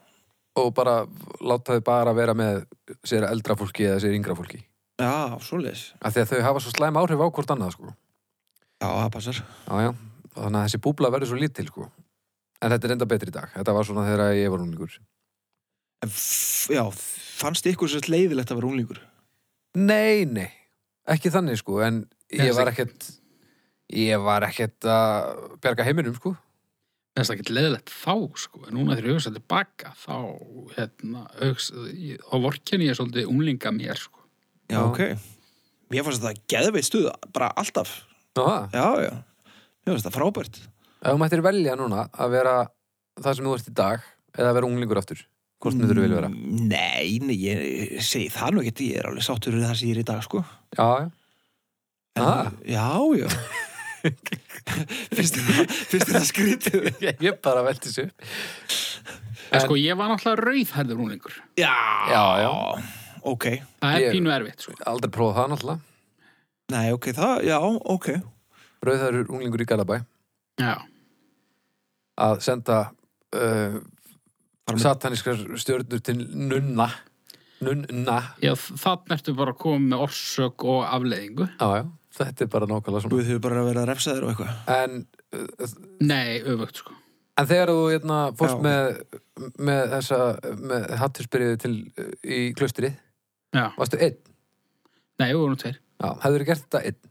S3: og bara láta þau bara vera með sér eldra fólki eða sér yngra fólki
S1: Já, svoleiðis.
S3: af því að þau hafa svo slæm áhrif á hvort annað sko.
S1: Já, það passar.
S3: já, já. þannig að þessi búbla verður svo lítil sko. en þetta er enda betri í dag þetta var svona þegar ég var unglingur
S1: En f- já, fannst ykkur sérst leiðilegt að vera unglingur?
S3: nei, nei, ekki þannig sko. en
S2: Nei,
S3: ég var ekkert ég var ekkert að bjarga heiminum sko.
S2: Mér finnst það ekki leðilegt þá, sko, en núna þegar ég hugsa tilbaka, þá, hérna, hugsa, ég- þá vorkenni ég svolítið unglinga mér, sko.
S1: Já,
S3: Já.
S1: ok. Mér fannst þetta geðveitt stuð, bara alltaf.
S3: Ná, það
S1: Já, já. Mér fannst þetta frábært.
S3: Ef þú mættir velja núna að vera það sem þú ert í dag eða að vera unglingur aftur hvort myndur þú vilja vera?
S1: Mm, Nei, nei, ég segi það nú ekkert, ég er alveg sáttur við það sem ég er í dag, sko.
S3: Já,
S1: En,
S3: Ah.
S1: Já, já. Fyrst er það skrítið.
S3: já. ég bara velti þessu upp.
S2: En
S3: En-
S2: sko, ég var náttúrulega rauðhærður unglingur.
S1: Já,
S3: Já, já.
S1: Ok.
S2: Það er
S3: Ég-
S2: pínu erfitt, sko.
S3: Aldrei prófa það náttúrulega
S1: Nei, ok, það, já, ok
S3: Rauðhærur unglingur í Galabæ
S2: Já,
S3: að senda uh,
S1: Bara með-
S3: satanískar stjörnur til nunna nunna
S2: já þannig ertu bara að koma með orsök og afleiðingu.
S3: já, já, þetta er bara nákvæmlega svona
S1: Guð hefur bara verið að refsa þér og eitthvað
S3: en, uh,
S2: Nei, öfugt sko.
S3: en þegar þú hérna, fórst
S1: Já.
S3: með, með þessa með hattursbyrjuði til uh, í klustri
S2: Já,
S3: varstu einn,
S2: nei, við vorum tveir.
S3: já, hefur gert þetta einn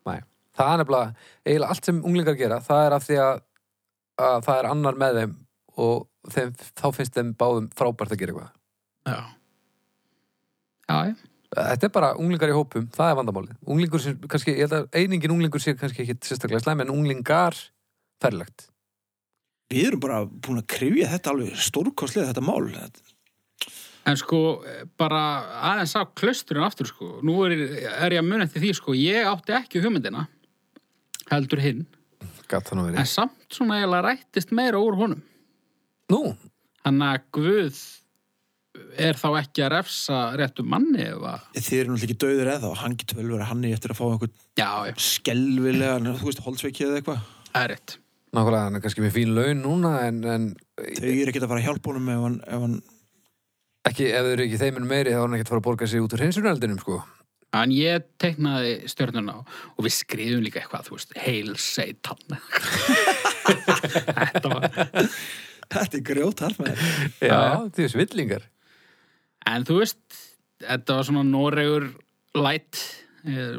S2: Nei,
S3: það er nefnilega, eiginlega allt sem unglingar gera það er af því að, að það er annar með þeim og þeim, þá finnst þeim báðum frábært að gera eitthvað
S2: já. Já, já.
S3: Þetta er bara unglingar í hópum, það er vandamálið. Unglingur sem, kannski, ég held að einingin unglingur sé kannski ekki sérstaklega slæm, en unglingar ferlegt.
S1: Við erum bara búin að krifja þetta alveg stórkostlega þetta mál Þetta-
S2: En sko, bara aðeins á klausturinn aftur sko. Nú er, er ég að muna eftir því sko. Ég átti ekki hugmyndina, heldur hinn.
S3: Gat þannig
S2: En samt svona eiginlega rættist meira úr honum.
S3: Nú,
S2: Þannig að Guð er þá ekki að refsa réttum manni eða...
S1: Þið eru náttúrulega ekki döður eða og hann getur vel verið að hann er eftir að fá einhvern
S2: Já, já,
S1: skelvilega, þú veist, holdsveiki eða eitthvað
S2: það er rétt.
S3: nákvæmlega, hann er kannski með fín laun núna, en, en
S1: Þau eru ekkert að fara að hjálpa honum ef hann, ef hann
S3: ekki, ef þau eru ekki þeiminn meiri, þá er hann ekki að fara að borga sig út úr hinsunareldinum, sko.
S2: En ég teiknaði stjörnuna og- og við skriðum líka eitthvað, þú veist, heil seitan. Þetta var...
S1: Þetta er grjótart með
S3: Já, því er svillingar.
S2: En þú veist, þetta var svona Noregur light,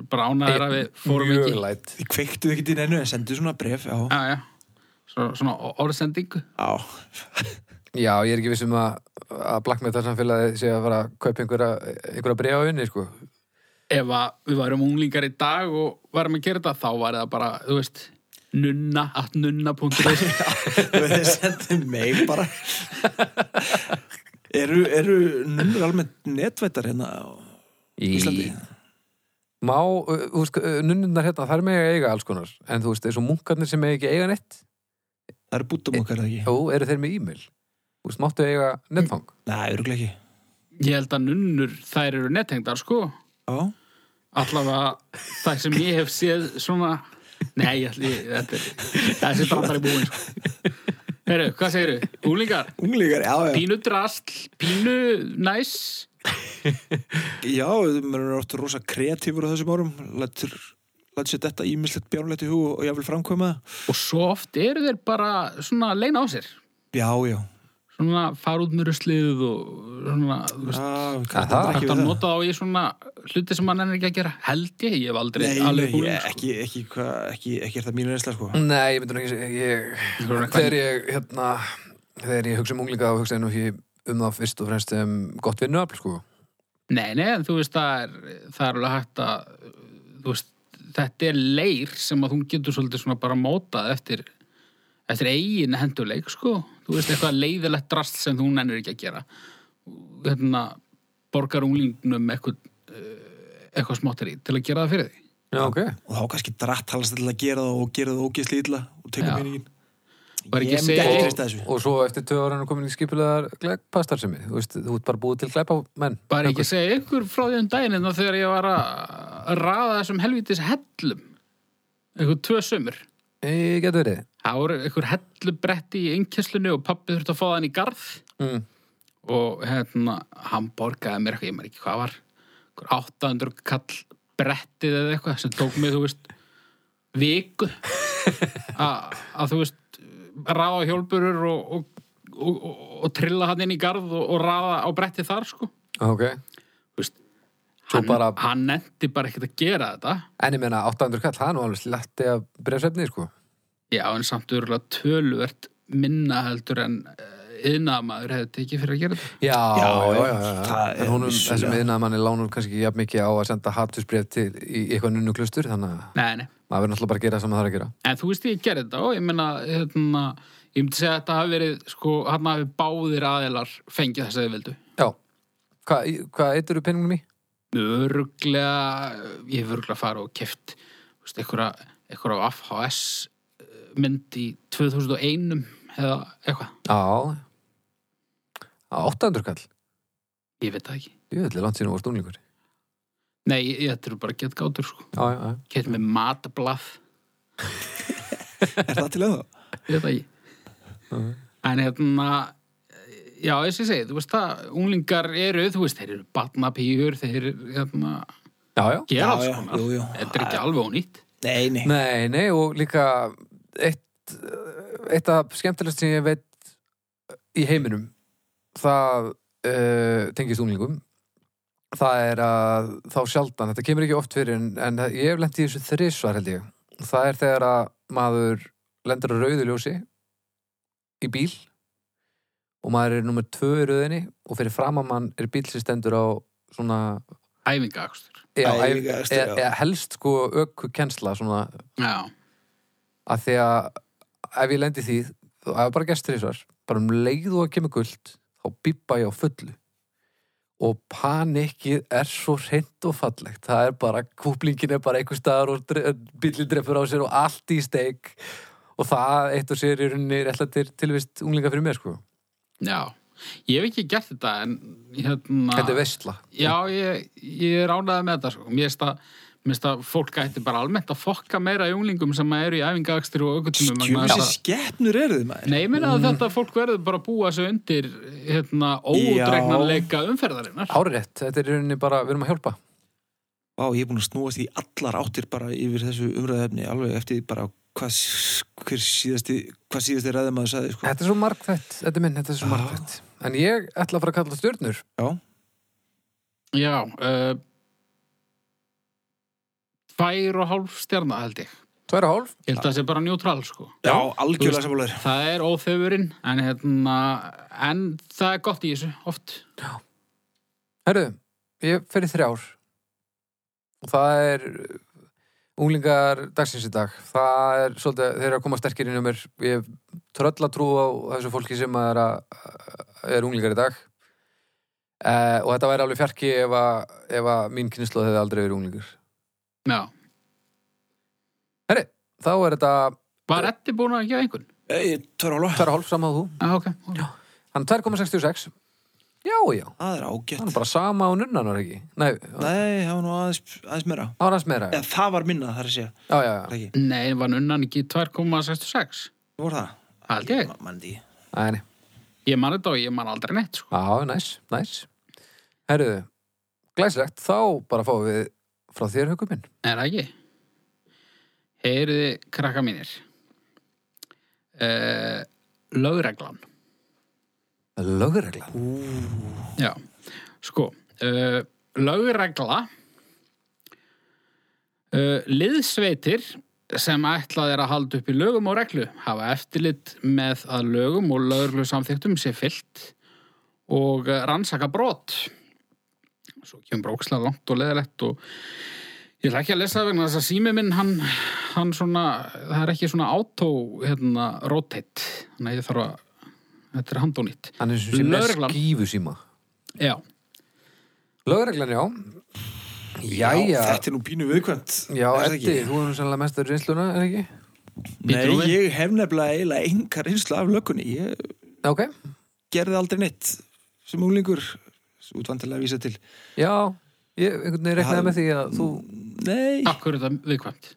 S2: bránaður að við fórum
S3: Mjög
S2: ekki.
S3: læt.
S1: Þið kveiktuð ekkert inn ennu en senduð svona bref Já,
S2: Já, já, Svo, svona orðsendingu.
S1: já.
S3: Já, ég er ekki vissum að, að blakkmetarsamfélagi sé að fara að kaupa einhverja, einhverja bregja á unni, sko.
S2: Ef að við varum unglingar í dag og varum að gera þetta, þá var það bara, þú veist, nunna, at nunna.is.
S1: Þú veist, þið sendið mig bara Eru, eru nunnur almennt netvættar hérna á Íslandi?
S3: má, uh, þú veist, uh, nunnundar hérna, þær megi eiga alls konar en þú veist, eins og munkarnir sem megi ekki eiga nett
S1: Það eru búttum okkar eða ekki?
S3: jú, eru þeir með e-mail þú veist, máttu eiga nettfang
S1: Nei, öruglega ekki
S2: Ég held að nunnur, þær eru nettengdar, sko.
S1: Já,
S2: allavega það sem ég hef séð svona nei, ég ætli, þetta er þessi brandar er búin Heru, sko. hvað segirðu? Úlingar?
S1: unglingar, já, já
S2: Pínu drasl, pínu næs
S1: Já, maður er oft rosa kreatífur á þessum árum Lætur, lætur sér þetta ímislegt bjánlegt í hug og ég vil framkvæma það
S2: og svo oft eru þeir bara svona að leina á sér
S1: Já, já,
S2: svona fara út með ruslið og svona, þú veist,
S1: já
S3: Aha.
S2: hægt að nota þá í svona hluti sem mann ennir ekki að gera held ég, ég hef aldrei
S1: Nei,
S2: alveg
S1: nei,
S2: búin
S1: ég-
S2: sko.
S1: ekki, ekki, hva, ekki, ekki er það mín reynsla sko
S3: nei, ég myndi nú ekki segja- ég,
S2: Þú erum eitthvað-
S3: þegar ég, hérna þegar ég hugsa um unglinga þá hugsa ég nú ekki um það fyrst og fremst um gott vinnuafl sko.
S2: Nei, nei, en þú veist, það er, það er alveg hægt að, þú veist, þetta er leir sem að þú getur svolítið svona bara mótað eftir, eftir eigin henduleik, sko. Þú veist, eitthvað leiðilegt drast sem þú nennir ekki að gera. Hérna, borgar unglingnum eitthvað, eh, eitthvað smáttir í til að gera það fyrir því.
S3: já, ok
S1: og þá kannski dratt halast til að gera það og gera það ógeðsli illa og
S2: Já.
S1: teka peningin
S2: Var ekki
S1: Ég
S2: að
S1: myndi
S2: segja-
S1: ekki
S3: og,
S1: treysta þessu
S3: og svo eftir tvö ára er komin í skipulegar glæpastar sem þú veist, þú ert bara búið til glæpa menn
S2: Bara ekki að segja ykkur frá því um daginn en þegar ég var að raða þessum helvítis hellum, eitthvað tvö sömur.
S3: ég getur verið
S2: Það voru einhver hellubretti í innkeslunni og pappi þurfti að fá þann í garð
S3: mm.
S2: og hérna, hann borgaði mér eitthvað, ég maður ekki hvað var, einhver 800 kall brettið eða eitthvað sem tók mig, þú veist, viku a- að þú veist, ráða hjólburur og, og, og, og, og trilla hann inn í garð og, og ráða á brettið þar, sko.
S3: ok,
S2: Þú veist,
S3: Svo
S2: hann,
S3: bara-
S2: hann nefndi bara ekkert að gera þetta.
S3: en ég meina 800 kall, það er nú alveg sletti að bregja svefni, sko
S2: Já, en samt örgulega tölvert minna heldur en yðnaðamaður hefði tekið fyrir að gera þetta.
S3: Já, já, já, já,
S1: það
S3: En
S1: er
S3: honum,
S1: vissulega.
S3: þessum yðna manni lánur kannski ekki jafn mikið á að senda hattusbref til í eitthvað nunnu klustur, þannig að
S2: Nei, nei.
S3: maður verður náttúrulega bara að gera það sem maður þarf að gera.
S2: En þú veist ég gerði þetta og ég meina, hérna, ég myndi segja að þetta hafi verið, sko, hann hafi báðir aðilar fengið þess að þið vildu.
S3: Já, hvað hva eitur þú peningum í?
S2: Öruglega, ég hef öruglega farið og keft, þú veist, einhverja, einhverja á FHS eh, mynd í 2001 eða eitthvað,
S3: Já, á 800 kall.
S2: ég veit það ekki.
S3: Jú, þetta er langt síðan og varst unglingur.
S2: Nei, ég- þetta eru bara gett gátur sko.
S3: já, já, já.
S2: Kert með matblaf
S1: Er það til að það?
S2: Ég veit það ekki En hérna Já, þess að segja, þú veist það Unglingar eru, þú veist, þeir eru batnapíur Þeir eru, hérna,
S3: já, já.
S1: Já,
S2: gera alls
S1: já,
S2: konar
S1: jú, jú.
S2: sko, Þetta er ekki alveg ónýtt
S1: Nei, nei.
S3: Nei, nei, og líka eitt, eitt af skemmtilegst sem ég veit í heiminum það uh, tengist unglingum það er að þá sjaldan þetta kemur ekki oft fyrir en, en ég hef lent í þessu þrisvar held ég það er þegar að maður lendur á rauðu ljósi í bíl og maður er nummer tvö í rauðinni og fyrir framan mann er bíl sem stendur á svona
S2: Æfingaakstur
S3: já,
S1: Æfingaakstu,
S3: eða-
S1: já.
S3: eða helst sko ökku kensla svona
S2: Já,
S3: að því að ef ég lendi í því, þá ef bara gestur í svar bara um leið og að kemur guld þá bippa ég á fullu og panikið er svo hreint og fallegt, það er bara kúplingin er bara einhver staðar og dre- bíllinn drefur á sér og allt í steik og það eitt og sér í rauninni er alltaf til, tilvist unglinga fyrir mér sko
S2: já Ég hef ekki gert þetta en hérna
S3: þetta er veistla
S2: Já, ég, ég er ánæðið með þetta sko. Mér finnst að, mér finnst að fólk ætti bara almennt að fokka meira í unglingum sem að eru í æfingaakstur og aukutumum
S1: Stjúmsi skeppnur eru þið maður.
S2: Nei, ég meina að þetta fólk verður bara að búa sig undir hérna ódregnanleika umferðarinnar.
S3: Hárétt, þetta er í rauninni bara, við erum að hjálpa
S1: Vá, ég er búin að snúast í allar áttir bara yfir þessu umræðefni, alveg eftir bara hvað, s- hver síðasti, hvað síðasti ræðum maður sagði, sko.
S3: Þetta er svo margþætt, þetta er minn, þetta er svo
S1: Já.
S3: margþætt En ég ætla að fara að kalla stjörnur
S1: Já,
S2: Já, uh, tvær og hálf stjarna held ég.
S3: Tværa hálf,
S2: Ég held að það sé bara njútrál sko.
S1: já,
S2: Þú
S1: algjörlega
S2: veist-
S1: samfélagur.
S2: Það er óþefurinn, en hérna, en það er gott í þessu, oft.
S3: Herru, ég fer í þrjár og það er uh, unglingar dagsins í dag það er svolítið, þeir eru að koma sterkir inn um mér ég hef tröllatrú á þessu fólki sem er, að, er unglingar í dag eh, og þetta væri alveg fjarki ef að, ef að mín kynnslóð hefði aldrei verið unglingur
S2: Já.
S3: þá er þetta
S2: Var Eddi búin að gefa einhvern?
S1: Ei, tverra hálfa.
S3: tæra hálf saman að þú
S2: Já, ok. ok.
S3: hann er 2,66 já, já,
S1: Það er
S3: hann
S1: ágætt.
S3: er bara sama á nunnan var ekki, nei, það
S1: Nei, það var nú aðeins, aðeins meira.
S3: var hans meira já,
S1: Eða, það var minna, það er að segja.
S3: já, já,
S1: Það ekki.
S2: Nei, var nunnan ekki 2,66?
S1: Þú voru það?
S2: Held ég.
S1: Ma- man þetta ekki.
S3: já, nei
S2: Ég man þetta og ég man aldrei neitt, sko.
S3: Já, næs, næs. Herruðu, glæsilegt, þá bara fáum við frá þér haukum minn.
S2: Er það ekki? Heyriði, krakka mínir. Uh, lögreglan.
S3: Lögregla.
S2: Já, sko. Uh, lögregla. Uh, liðsveitir sem ætlað er að halda upp í lögum og reglu hafa eftirlit með að lögum og lögreglu samþyktum sé fyllt og eh, rannsaka brot. Svo kemur brókslega langt og leðilegt og ég ætla ekki að lesa það vegna þess að sími minn hann, hann svona, það er ekki svona auto, hérna, rotate. Þannig að ég þarf að, þetta er handónýtt.
S3: Hann er sem sé með
S2: Lögreglan.
S3: skífu síma.
S2: Já,
S3: Lögreglan, já. Jæja.
S1: Þetta er nú pínu viðkvæmt.
S3: Já,
S1: Er það
S3: Eddi,
S1: ekki?
S3: þú erum sannlega mestur reynsluna, er ekki?
S1: Nei,
S2: Bíddu við.
S1: ég hef nefnilega eiginlega enga reynsla af lökunni. Ég
S3: Ok,
S1: gerði aldrei neitt sem úlingur, útvandilega að vísa til.
S3: já. Ég einhvern
S1: Það-
S3: veginn reknaði með því að þú...
S1: Nei,
S2: akkur er þetta viðkvæmt.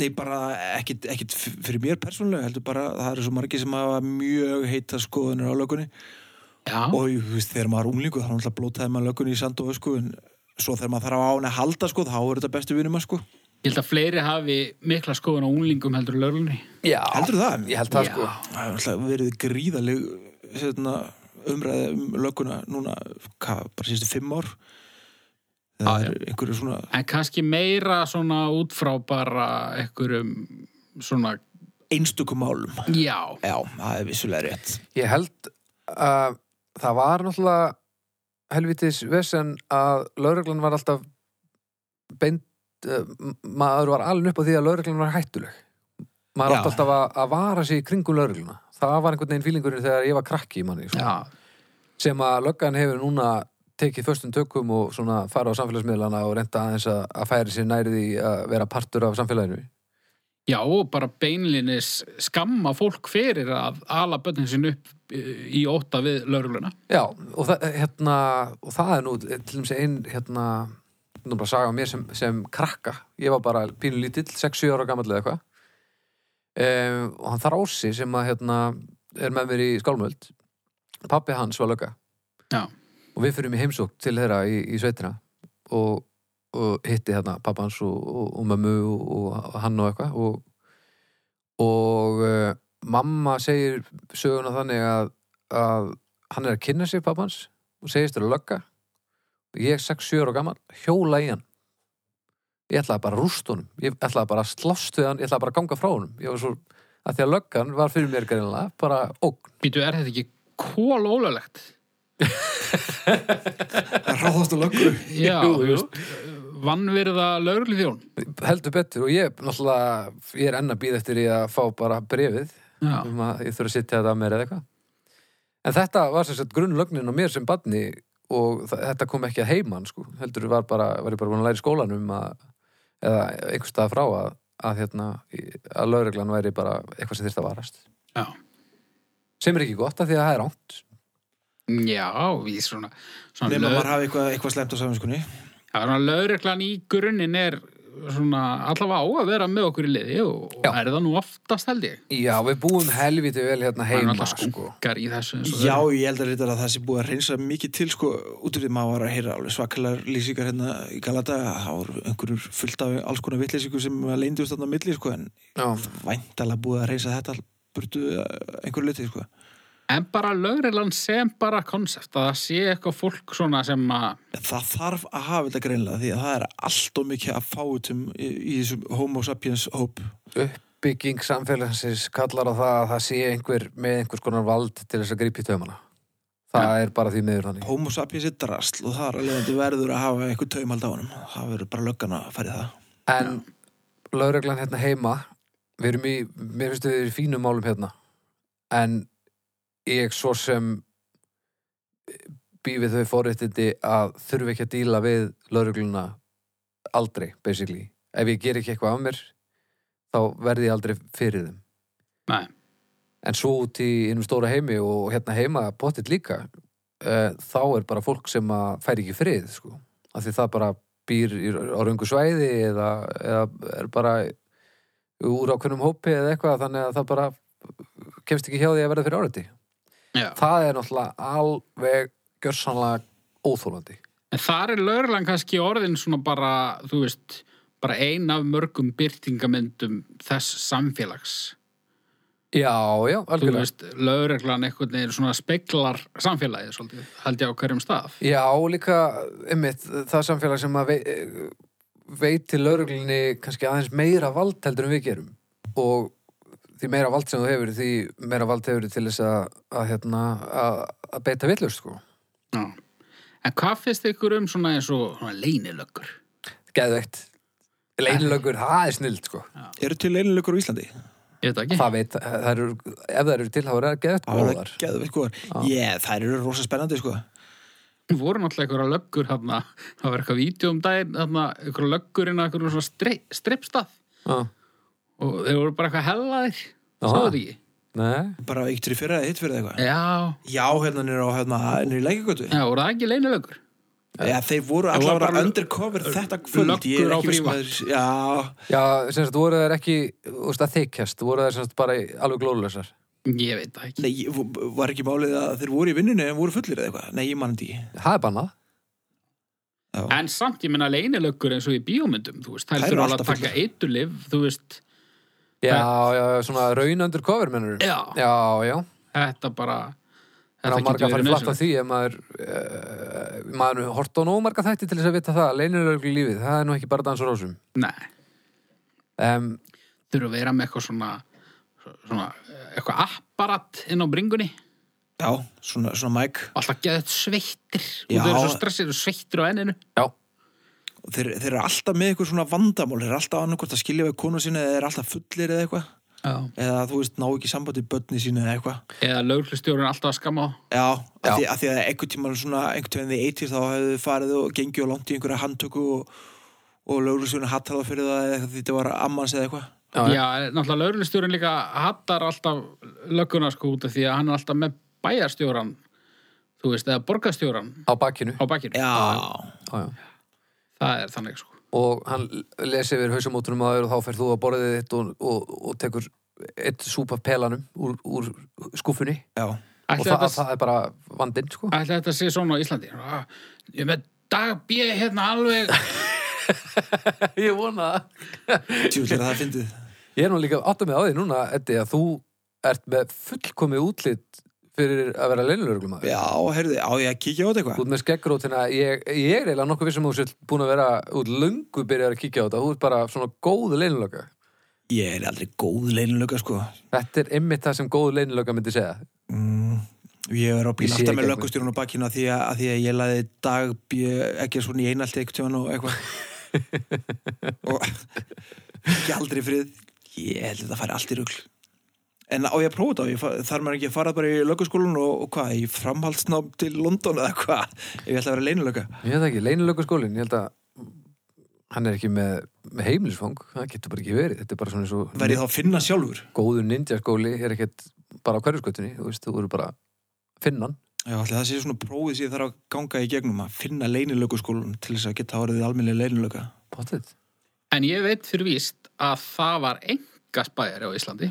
S1: nei bara ekkit, ekkit f- fyrir mér persónulega, heldur bara að það eru svo margi sem hafa mjög heita skoðunir á lökunni
S2: Já,
S1: og þú veist, þegar maður er úlingur þá náttúrulega blótaði maður lökunni í sand og ösku en svo þegar maður þarf á hann að halda sko, þá er þetta bestu vinum að sko.
S2: ég held að fleiri hafi mikla skoðun á unglingum heldur en lögreglunni.
S3: Já.
S2: Ah.
S1: Heldur það?
S3: Ég held það,
S2: Já.
S3: sko.
S1: Það er náttúrulega verið gríðaleg hérna, umræði um lögguna núna, hvað, bara síðustu fimm ár það er einhverju svona
S2: En kannski meira svona út frá bara einhverjum svona,
S1: einstökum málum
S2: já,
S1: Já, það er vissulega rétt
S3: Ég held að það var náttúrulega helvitis vesen að lögreglan var alltaf beint, uh, maður var alveg upp á því að lögreglan var hættuleg. Maður
S1: Já.
S3: átti alltaf að, að vara sig í kringum lögregluna. Það var einhvern veginn fílingurinn þegar ég var krakki í manni. Svona,
S2: já,
S3: sem að löggan hefur núna tekið föstum tökum og svona fara á samfélagsmiðlana og reynda aðeins að, að færi sér nærið í að vera partur af samfélaginu.
S2: já, og bara beinlinis skamma fólk fyrir að ala börnin sinn upp eh, í óta við lögregluna.
S3: Já, og það, hérna, og það er nú til dæmis ein hérna, nú bara saga um mér sem, sem krakka ég var bara pínu lítill, 6-7 ára gamall eða eitthvað um, og hann þar ási sem að hérna er með mér í skálmöld pappi hans var lögga
S2: Já.
S3: og við fyrir mig heimsók til þeirra í, í sveitina og, og hitti hérna pappa hans og, og, og mömmu og, og hann og eitthvað og, og uh, mamma segir söguna þannig að, að hann er að kynna sig pappa hans og segist þér að lögga ég er 6-7 ára gammal, hjóla í hann ég ætlaði bara að rúst honum ég ætlaði bara að slást við hann, ég ætlaði bara að ganga frá honum ég var svo, að því að löggan var fyrir mér greinlega, bara ógn
S2: Býtu, er þetta ekki kól ólöglegt?
S1: að ráðast á löggu
S2: Já,
S3: Jú,
S2: þú
S3: jú.
S2: veist, vannverða lögreglu þjón.
S3: heldur betur og ég, náttúrulega, ég er enn að býða eftir í að fá bara brefið
S2: Já,
S3: um að ég þurfa að sitja þetta að mér eða eitthvað en þetta var sem sagt grunnlögnin á mér sem badni og þa- þetta kom ekki að heiman sko, heldur var, bara, var ég bara búin að læra í skólanum um að, eða einhvers staðar frá að, að, hérna, í- að lögreglan væri bara eitthvað sem þyrst að varast
S2: já.
S3: sem er ekki gott af því að það er ánt
S2: Já, við svona... svona
S1: nema
S2: lög-
S1: maður hafi eitthvað, eitthvað slemt á saminskunni
S2: Já, svona lögreglan í grunninn er svona allavega á að vera með okkur í liði og, og
S3: Já.
S2: er það nú oftast held ég.
S3: já, við búum helviti vel hérna
S2: Það er
S3: heima
S2: alltaf
S3: sko.
S2: skunkar í þessu. eins og
S1: Já,
S2: það
S1: ég held að reyndar að það sé búið að reynsa mikið til sko, út af því maður var að heyra alveg svakalar lýsingar hérna í Galata það voru einhverjur fullt af alls konar vittlýsingu sem leindust þarna á milli sko, en
S3: já,
S1: væntalega búið að reynsa þetta burtu eh, einhverju liti sko.
S2: er. En bara lögreglan sem bara konsept að það sé eitthvað fólk svona sem að
S1: En það þarf að hafa þetta greinlega því að það er allt og mikið að fáutum í, í þessum homo sapiens hóp
S3: uppbygging samfélagsins kallar á það að það sé einhver með einhvers konar vald til þess að grípi taumana það er bara því miður þannig
S1: homo sapiens er drasl og það er alveg að verður að hafa einhver taumald á honum það verður bara löggan að fara í það
S3: En lögreglan hérna heima við erum í, mér finnst við erum í fínum málum hérna en ég svo sem býfið þau forréttindi að þurfi ekki að díla við lögregluna aldrei, basically ef ég ger ekki eitthvað af mér þá verði ég aldrei fyrir þeim
S2: Nei.
S3: En svo út í innum stóra heimi og hérna heima pottit líka uh, þá er bara fólk sem að fær ekki frið sko, af því það bara býr í, á röngu svæði eða, eða er bara úr ákveðnum hópi eða eitthvað þannig að það bara kemst ekki hjá því að verða fyrir áriði.
S2: Já.
S3: Það er náttúrulega alveg gjörsanlega óþólandi.
S2: En þar er lögreglan kannski orðin svona bara, þú veist, bara ein af mörgum byrtingamyndum þess samfélags.
S3: Já, já,
S2: Þú
S3: algjörlega.
S2: veist, lögreglan einhvern veginn svona speklar samfélagið, svolítið, held ég á hverjum stað.
S3: Já, og líka, einmitt, það samfélag sem að vei, veiti lauruglunni kannski aðeins meira vald heldur en við gerum og því meira vald sem þú hefur, því meira vald hefur til þess að, að, hérna, að, að beita villust, sko.
S2: Já. En hvað finnst ykkur um svona eins og svona leynilöggur?
S3: Geðveikt. Leinlögur, það er snild, sko.
S1: eru til leinilegur á Íslandi?
S2: Ég veit það ekki.
S3: Það veit, það eru, ef það eru til, þá eru það geðveikt
S1: Það verða
S3: góðar.
S1: geðveikt góðar. Ég, þær eru rosa spennandi, sko.
S2: voru náttúrulega einhverja löggur hérna, það var eitthvað vídeo um daginn hérna, einhverja löggur inn að einhverjum svona strei- strippstað
S3: Já.
S2: og þeir voru bara eitthvað hellaðir
S3: Aha.
S2: sáðu þetta ekki?
S3: Nei.
S1: Bara eittur í fyrra eða hitt fyrir eitthvað.
S2: Já,
S1: Já, hérna nýra á, hérna, nýra í lækjagötu.
S2: já, voru það ekki leynilöggur?
S1: Já, þeir voru
S2: Það var
S1: allavega
S2: bara
S1: undercover þetta kvöld. Ég er
S2: löggur á
S1: ekki viss um að þeir- Já,
S3: Já, sem sagt, voru þær ekki, þú veist, að þykjast, voru þær sem sagt bara í- alveg glóðlösar.
S2: Ég veit það ekki
S1: nei, ég- var ekki málið að þeir voru í vinnunni en voru fullir eða eitthvað. Nei, ég mann því.
S3: Það er bannað.
S1: Já.
S2: En samt, ég menna leynilöggur eins og í bíómyndum þú veist,
S1: Þær
S2: þær
S1: eru
S2: þurfa alveg
S1: alltaf
S2: að taka eitulif þú veist,
S3: Já, já, já, svona raun undir cover mennur
S2: Já.
S3: Já, já,
S2: þetta bara
S3: en á
S2: þetta
S3: marga
S2: getur verið
S3: farið flatt á
S2: nöðsynlegt
S3: því ef maður, uh, maður hort á nóg marga þætti til þess að vita það, leynilöglu lífið það er nú ekki bara dans og rásum
S2: Nei,
S3: um,
S2: þurfa að vera með eitthvað svona, svona eitthvað apparat inn á bringunni
S1: Já, svona, svona mæk.
S2: alltaf geðið sveittir
S1: Já.
S2: og þau eru svo stressir og sveittir á enninu
S3: Já,
S1: Og Þeir, þeir eru alltaf með eitthvað svona vandamál. Þeir eru alltaf annarkvort að skilja við konu sína eða þeir eru alltaf fullir eða eitthvað.
S2: Já.
S1: Eða, þú veist, ná ekki sambandi bönni sína eða eitthvað.
S2: Eða lögreglustjórinn er alltaf að skamma á.
S1: Já,
S3: Já.
S1: Að, því, að því að einhvern tímann svona, einhvern tímann því eitir þá hefðu farið og gengið og langt í einhverja handtöku og, og lögurlustjónu hattaða fyrir það eða eitthvað, þetta var ammans eða eitthvað.
S3: já,
S2: Já, en náttúrulega lögreglustjórinn líka hattar alltaf lögguna sko út af því að hann er alltaf með bæjarstjóran, þú veist, eða borgarstjóran
S3: á bakinu
S2: á bakkinu.
S1: Já,
S3: já, já.
S2: það er þannig sko
S3: og hann lesi yfir hausamótunum að og þá fer þú að borðið þitt og, og, og tekur eitt súpa af pelanum úr, úr skúfunni
S1: Já,
S3: og
S2: Ætli
S3: það,
S2: þetta,
S3: það er bara vandinn sko.
S2: ætli þetta sé svona á Íslandi Ah, Ég er með dagbíð hérna alveg
S3: ég vona það
S1: tjúl er það fyndið
S3: ég er nú líka átt að með á því núna Eddi, að þú ert með fullkomi útlit fyrir að vera leinlöruglum
S1: Já, heyrðu, á ég að kíkja á þetta eitthvað
S3: út með skeggrótina, ég, ég er eiginlega nokkuð vissum að þú sér búin að vera út löngu byrjar að kíkja á þetta, þú ert bara svona góð leinlöka.
S1: Ég er aldrei góð leinlöka sko
S3: Þetta er einmitt það sem góð leinlöka myndi segja.
S1: mm, Ég er á bíl
S3: Ég
S1: alltaf
S3: sé ekki
S1: með
S3: alveg.
S1: löggustjórun á bakkinu að því að, að því að ég laði dag ekki svona í einalti eitthvað tíman og eitthvað og ekki aldrei í frið Ég held að þetta fari allt í rugl En á ég að prófa þetta, Ég fa- þarf maður ekki að fara bara í löggaskólan og, og hvað, í framhaldsnám til London eða hvað, ef ég ætla að vera leinlöka
S3: Ég veit það ekki, leinlöka ég held að hann er ekki með, með heimilisfang, það getur bara ekki verið, þetta er bara svona svo
S1: Verð ég þá að finna sjálfur?
S3: góður ninja skóli er ekkert bara á hverjuskötunni, þú veist, þú eru bara finnan.
S1: Já, ætli það sé svona prófið sem ég þarf að ganga í gegnum að finna leinilökuskólan til þess að geta árið alminlega leinilöka.
S3: Pottet.
S2: En ég veit fyrir víst að það var enga spæðari á Íslandi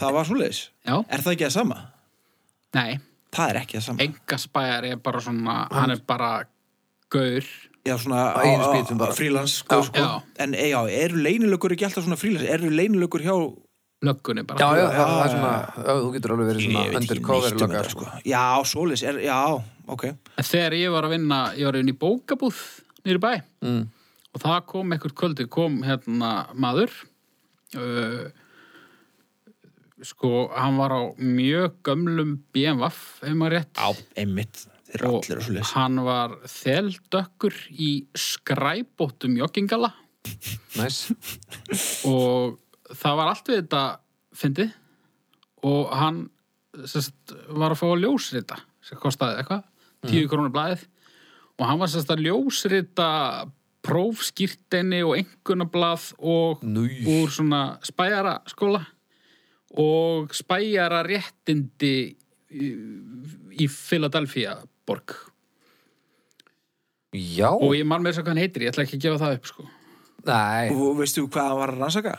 S1: Það var svoleiðis.
S2: Já,
S1: Er það ekki það sama?
S2: nei,
S1: Það er ekki það sama.
S2: enga spæðari er bara svona, hann er bara gaur
S1: Já, svona á-
S3: Á eigin
S1: á-
S3: spýtum bara.
S1: frílans, sko,
S3: Já.
S1: sko.
S2: Já.
S1: En e, já, eru leinilökur ekki alltaf svona frílans? Eru leinilökur hjá...
S2: löggunni bara
S3: Já, já,
S1: já,
S3: það
S1: já,
S3: er svona, já, þú getur alveg verið svona undercover lögga,
S1: þetta,
S3: sko.
S1: sko. Já, svoleiðis. Er, já, ok.
S2: En þegar ég var að vinna, ég var inn í bókabúð nýri bæ
S3: Mm.
S2: og það kom ekkert kvöldi, kom hérna maður uh, sko, hann var á mjög gömlum BMW ef maður rétt
S1: Einmitt. Þeir eru
S2: og
S1: allir að svoleiðis.
S2: hann var þeldökkur í skræbóttum joggingala
S3: Næs.
S2: og það var allt við þetta fyndið og hann sest, var að fá að ljósrita sem kostaði eitthvað, 10 krónur blæðið og hann var sest, að ljósrita prófskýrteni og einkunablað og
S3: Núj.
S2: úr svona spæjara skóla og spæjara réttindi í, í Philadelphia borg
S3: Já.
S2: og ég man með þess að hvað hann heitir, ég ætla ekki að gefa það upp sko.
S3: Nei.
S1: Og veistu hvað hann var að rannsaka?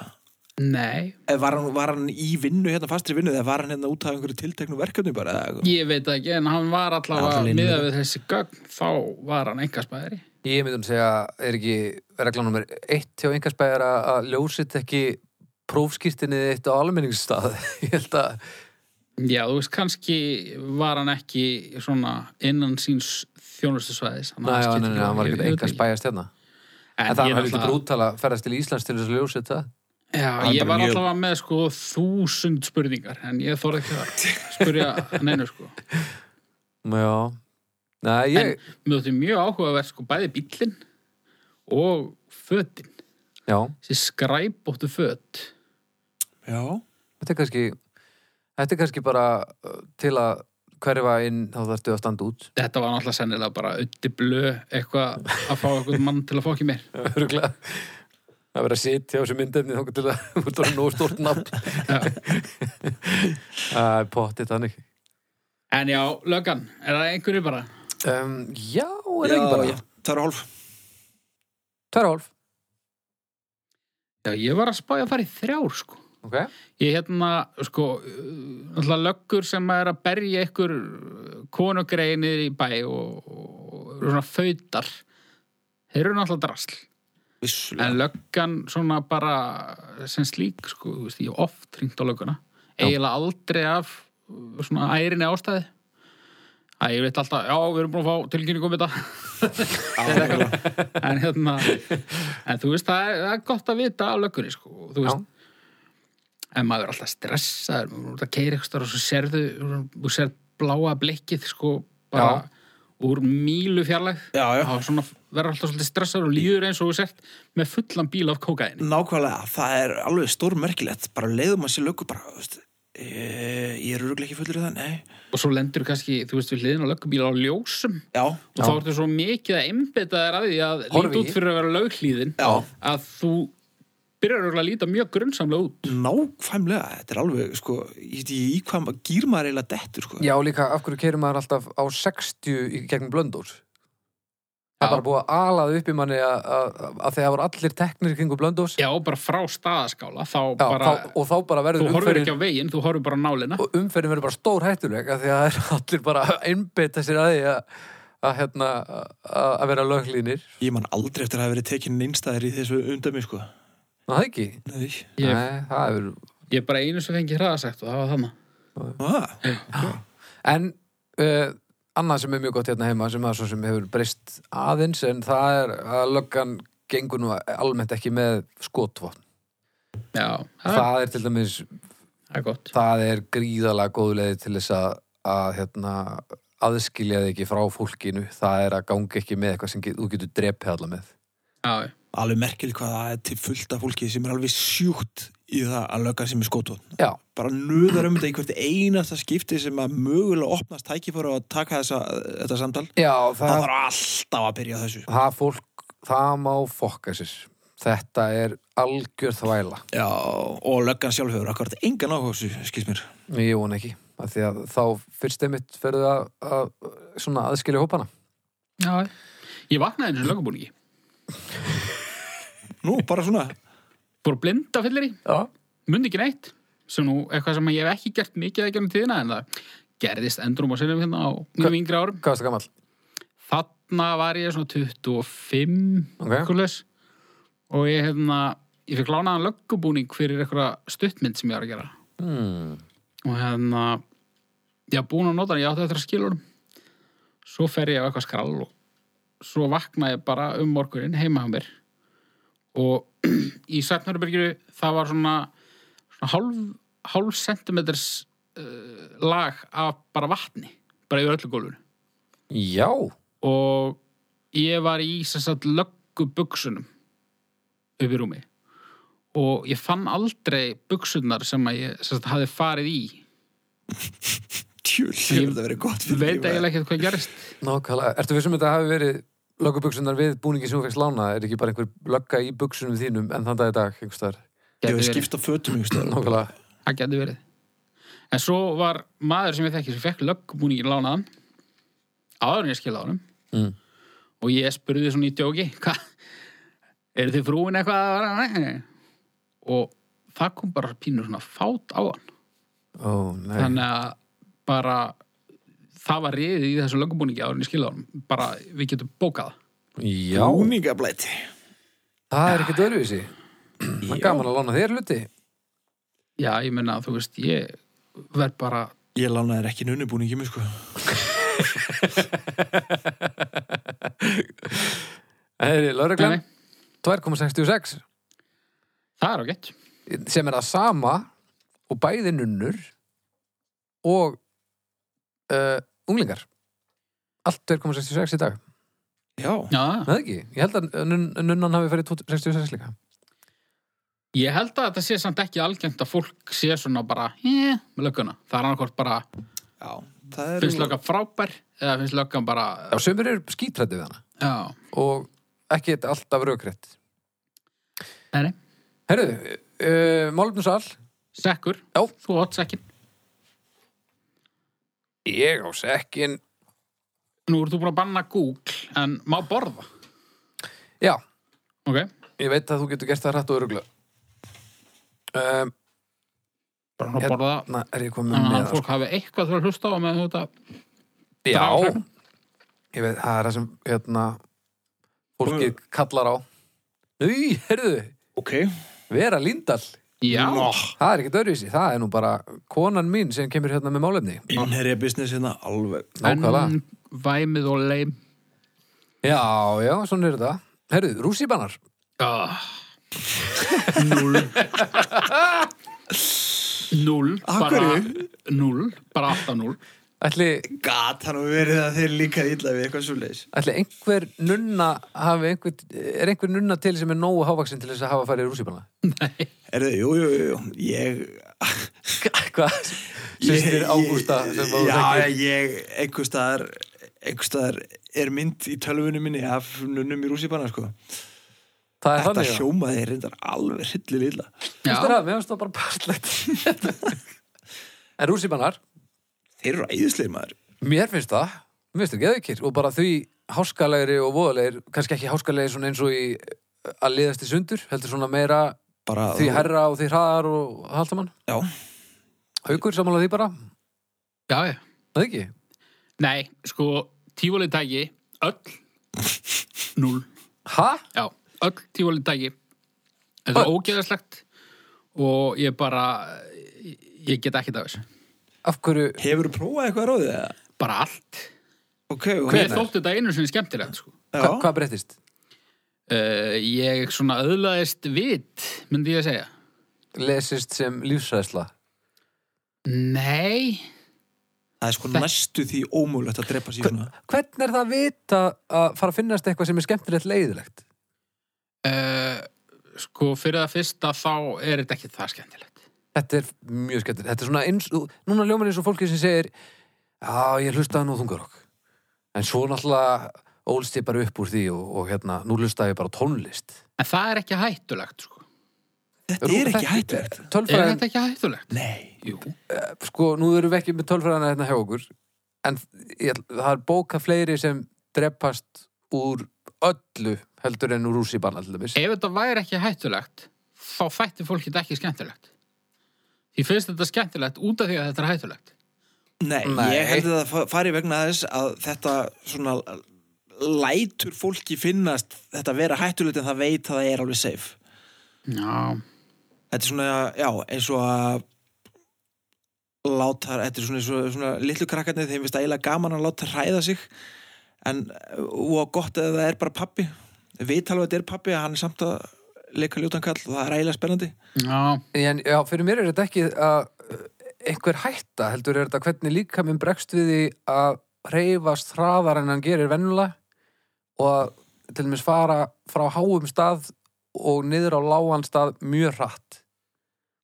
S2: Nei,
S1: Eh, Var hann, var hann í vinnu, hérna fastri vinnu, eða var hann hérna út af einhverju tilteknu verkefni bara? eða-
S2: Ég veit það ekki, en hann var
S1: Já,
S2: allavega
S1: það
S2: ja,
S1: leynir
S2: miðað við þessi gögn, þá var hann engasbæðari.
S3: Ég myndum segja, er ekki regla nummer eitt hjá einhversbæjar að ljósit ekki prófskýrtinni eitt á almenningsstað. Ég held að,
S2: Já, þú veist, kannski var hann ekki svona innan síns þjónustusvæðis.
S3: næ, já, nei, nei, hann var ekki einhversbæjar stjarna. En, en það var ekki brútal að ferðast til Íslands til þess að ljósit það.
S2: Já,
S1: er bara
S2: ég var
S1: mjög-
S2: allavega með sko þúsund spurningar, en ég þorði ekki að spurja neinu sko.
S3: Já. Nei, ég,
S2: Mér þótti mjög áhugavert sko bæði bíllinn og fötin,
S3: já,
S2: þessi skræbóttu föt.
S1: Já.
S3: þetta er kannski, þetta er kannski bara uh, til að hverfa inn þá þarftu að standa út.
S2: Þetta var náttúrulega sennilega bara ötti blö eitthvað að fá eitthvað mann til að fá ekki mér.
S3: Öruglega. Það verður að sitja á þessu myndefni þá til að þú ert að nóg stort nafn.
S2: Já.
S3: Það er pottið þannig.
S2: En já, löggan, er það einhverju bara?
S3: Um, já, er það
S1: Já,
S3: ekki bara?
S1: já, tvær og hálf.
S3: Tvær og hálf.
S2: Já, ég var að spája að fara í þrjár, sko.
S3: Ok.
S2: Ég hérna, sko, uh, náttúrulega löggur sem er að berja einhver konugreið niður í bæ og, og eru svona fautar. Þeir eru náttúrulega drasl.
S1: Vissulega.
S2: En löggan svona bara sem slík, sko, þú veist, ég hef oft hringt á lögguna.
S3: Já.
S2: Eiginlega aldrei af uh, svona ærinni ástæði. Æ, ég veit alltaf, já, við erum búin að fá tilkynningu um þetta.
S1: Já, já.
S2: en hérna en þú veist, það er, það er gott að vita á löggunni, sko, og þú veist en maður er alltaf stressaður maður er út að keira eitthvað og svo serðu þú serð bláa blikkið, sko bara úr mílu fjarlæg
S1: Já, já.
S2: og svona verður alltaf svolítið stressaður og líður eins og þú sért með fullan bíl af kókaðinni
S1: Nákvæmlega, það er alveg stór merkilegt bara leiðum að sé löggu bara þú veist, eh, ég er öruglega ekki fullur í það, nei
S2: og svo lendur kannski, þú veist, við hliðin á löggubíla á ljósum
S1: Já,
S2: og þá ertu svo mikið að einbytta þér að því að
S3: Horfi
S2: líta
S3: í.
S2: út fyrir að vera löghlíðin
S1: Já.
S2: að þú byrjar örugglega að líta mjög grunnsamlega út
S1: nákvæmlega, þetta er alveg sko, ég veit ekki í hvað maður gýr maður eiginlega dettur sko.
S3: Já, líka, af hverju keirir maður alltaf á 60 í gegnum blöndós? það er bara búið að alað upp í manni að, að, að þegar voru allir teknir kringu blöndós
S2: Já, bara frá staðaskála, þá
S3: Já,
S2: bara,
S3: þá, og þá bara
S2: þú
S3: verður
S2: horfir
S3: umferðin
S2: ekki á veginn, þú horfir bara á nálina.
S3: og umferðin verður bara stór hættuleg af því að það er allir bara að einbeita sér að því að, að, hérna, að, að vera löglínir
S1: Ég man aldrei eftir að hafa verið tekinn innstæðir í þessu undami, sko.
S3: Ná, það ekki
S1: Nei.
S2: Ég,
S3: Nei, það hefur
S2: ég er bara einu sem fengi hraðasegt og það var þannig.
S1: Ah,
S3: En uh, annað sem er mjög gott hérna heima sem, að, svo sem hefur breyst aðeins en það er að löggan gengur nú almennt ekki með skotvopn.
S2: Já, það,
S3: Það er til dæmis,
S2: það er gott.
S3: það er gríðalega góð leið til þess að, að hérna, aðskilja þig ekki frá fólkinu. Það er að ganga ekki með eitthvað sem get, þú getur drepið alla með.
S2: Já,
S1: alveg merkilegt hvað það er til fullta fólki sem er alveg sjúkt í það að lögga sem er skótun.
S3: Já,
S1: Bara nöðar um þetta í hvert einasta skipti sem að mögulega opnast tækifæra og taka þessa, þetta samtal.
S3: já
S1: Það
S3: það,
S1: þarf alltaf að byrja á þessu.
S3: það fólk, það má fokka sér. Þetta er algjör þvæla.
S1: Já, og löggan sjálfur, akkurat engan áhuga á þessu, skilst mér.
S3: Nei, Ég vona ekki, af því að þá fyrst einmitt ferðu að, að svona aðskilja hópana.
S2: já. Ég vaknaði eins og lögabúningi.
S1: Nú, bara svona.
S2: Búið blinda fyllir í,
S3: Já.
S2: mundi ekki neitt. Sem nú eitthvað sem ég hef ekki gert mikið ekki um tíðina en það gerðist endrum og sinnum hérna á mjög yngri árum.
S3: Hvað er það gamall?
S2: Þarna var ég svona 25
S3: Ok.
S2: kulis, og ég hérna, ég fikk lánaðan löggubúning fyrir eitthvað stuttmynd sem ég var að gera.
S3: Hmm.
S2: og hérna ég var búin að nota hann, ég átti eftir að skilur svo fer ég á eitthvað skrall og svo vakna ég bara um morgunin heima hjá mér og í Sætnarbergiru það var svona, svona hálf, hálf sentimeters uh, lag af bara vatni bara yfir öllu gólfinu
S3: Já.
S2: og ég var í sem sagt löggu buksunum upp í rúmi og ég fann aldrei buksunar sem að ég sem sagt, hafði farið í
S1: Tjúl, ég veit að vera gott fyrir
S2: veit
S1: lífið.
S2: eiginlega ekkert hvað gerist
S3: Nákvæmlega. Ertu vissum þetta hafi verið löggubuksunar við búningi sem þú fegst lána? Er ekki bara einhver lögga í buksunum þínum en þann dag í dag, einhvers þar?
S1: Ég
S2: Gæti
S1: hef
S2: verið.
S1: skipt á fötum, ég veist
S3: Nákvæmlega.
S2: það getur verið en svo var maður sem ég þekki sem fekk löggmúningin lánaðan áður en ég skilði á honum
S3: Mm.
S2: og ég spurði svona í djóki hvað, eru þið frúin eitthvað að vera Nei. og það kom bara pínur svona fát á hann
S3: Ó, nei.
S2: þannig að bara það var riðið í þessu löggmúningi áður en ég skilði á honum bara við getum bókað það.
S3: Já.
S1: Búningablæti.
S3: Það er ekkert öðruvísi. Það er gaman að lána þér hluti.
S2: já ég menna þú veist ég verð bara
S1: Ég lánaði þér ekki nunnubúningi, mér sko.
S3: Það er
S2: Nei,
S3: lögreglan
S2: nei,
S3: 2,66
S2: það er ágætt
S3: sem er það sama og bæði nunnur og uh, unglingar. Allt 2,66 í dag.
S1: Já.
S2: já,
S3: Nei ekki, ég held að nun, nunnan hafi farið 66 líka
S2: Ég held að þetta sé samt ekki algengt að fólk sé svona bara, eh, með lögguna. Það er annarkort bara,
S1: Já. Það er...
S2: finnst löggan frábær eða finnst löggan bara,
S3: Já, sömur eru skítrætti við hana
S2: já,
S3: og ekki þetta alltaf raukrætt
S2: nei, nei,
S3: Herru, uh, málumsal
S2: sekkur,
S3: Já.
S2: þú átt sekkin.
S3: Ég á sekkin
S2: Nú ert þú búin að banna Google, en má borða,
S3: Já,
S2: ok?
S3: ég veit að þú getur gert það rætt og örugla um,
S2: Bara svona borða,
S3: Na, er ég komin
S2: þannig
S3: Hérna. með
S2: að fólk hafi eitthvað til að hlusta á með þetta.
S3: Já,
S2: draga sekkinn.
S3: ég veit, það er það sem hérna, fólkið kallar á Því, herðu,
S1: Ok.
S3: Vera Lindahl
S2: Já,
S1: Nó.
S3: Það er ekkert öðruvísi, það er nú bara konan mín sem kemur hérna með málefni
S1: Innherja business hérna alveg.
S3: Nákvæmlega
S2: en væmið og leim.
S3: Já, já, svona er þetta. Herðu, rússibanar.
S2: Ah. Null. Null,
S1: Af
S2: bara,
S1: hverju?
S2: null, bara alltaf null.
S3: Ætli,
S1: Gat, hann hefur verið að þeir líka illa við eitthvað svo leiðis.
S3: ætli einhver nunna hafi einhver, er einhver nunna til sem er nógu hávaksin til þess að hafa farið rússibana?
S1: Er það, jú, jú, jú, jú, ég...
S3: Hvað? Sýstir
S1: ég-
S3: Ágústa sem þú
S1: Já,
S3: þekkir.
S1: ég, einhver staðar, einhver staðar er mynd í tölvunum minni af nunnum í rússipanna, sko.
S3: Það er
S1: Þetta
S3: þannig. Þetta
S1: sjómaði reyndar alveg hryllilega illa.
S3: Sýstir
S2: Já,
S3: að, mér finnst það bara partlegt. en rússibanar,
S1: Þeir eru æðislega maður.
S3: mér finnst það, mér finnst það geðvikir og bara því háskalegri og voðalegri, kannski ekki háskalegri svona eins og í eh, að liðast í sundur, heldur svona meira
S1: bara
S3: því herra og því hraðar og haldamann.
S1: Já.
S3: Haukur samanlega því bara,
S2: Já, já.
S3: það ekki?
S2: Nei, sko, tífólið tæki, öll, null.
S3: Ha?
S2: Já, öll tífólið tæki. Þetta er
S3: Öll?
S2: ógeðarslegt og ég bara, ég- ég get ekki það þessu.
S3: Af hverju?
S1: hefur prófað eitthvað ráðið eða?
S2: Bara allt.
S1: ok, og
S2: Hver
S1: hérna?
S2: þótti þetta einu sinni skemmtilegt, sko.
S3: Hva,
S1: Já.
S3: hvað breyttist?
S2: Uh, ég svona öðlaðist vit, myndi ég að segja.
S3: Lesist sem lífsræðsla?
S2: Nei,
S1: það er sko
S2: Þetta-
S1: næstu því ómúlegt að drepa sig svona
S3: Hvern er það að vita að fara að finnast eitthvað sem er skemmtilegt leiðilegt?
S2: uh, sko, fyrir það fyrsta þá er þetta ekki það skemmtilegt.
S3: Þetta er mjög skemmtilegt. Þetta er svona eins og, núna ljóman eins og fólki sem segir Já, ég hlustaði nú þungarokk. En svo náttúrulega ólst ég bara upp úr því og, og hérna, nú hlustaði ég bara á tónlist.
S2: En það er ekki hættulegt, sko.
S1: þetta er ekki hættulegt
S2: Er
S3: Tölfræðin,
S2: þetta ekki hættulegt?
S1: nei,
S2: Jú.
S3: sko, nú erum við ekki með tölfræðina hérna hjá okkur. En ég, ætl- það er bóka fleiri sem dreppast úr öllu heldur en úr rússibanna til dæmis.
S2: Ef þetta væri ekki hættulegt, þá þætti fólki þetta ekki skemmtilegt. Því finnst þetta skemmtilegt út af því að þetta er hættulegt.
S1: nei,
S3: Nei.
S1: ég held að það fa- fari vegna þess að þetta svona lætur fólki finnast þetta vera hættulegt en það veit að það er alveg safe
S2: Já.
S1: þetta er svona, já, eins og að láta, þetta er svona, svona, svona litlu krakkarnir, þeim finnst eiginlega gaman að láta hræða sig en uh, og gott að það er bara pappi veit alveg að þetta er pappi, að hann er samt að leika ljótan kall og það er eiginlega spennandi
S2: Já.
S3: En, já, fyrir mér er þetta ekki að uh, einhver hætta, heldur er þetta hvernig líka minn bregst við því að reyfast hraðar en hann gerir vennulega og að til dæmis fara frá háum stað og niður á lágan stað mjög hratt.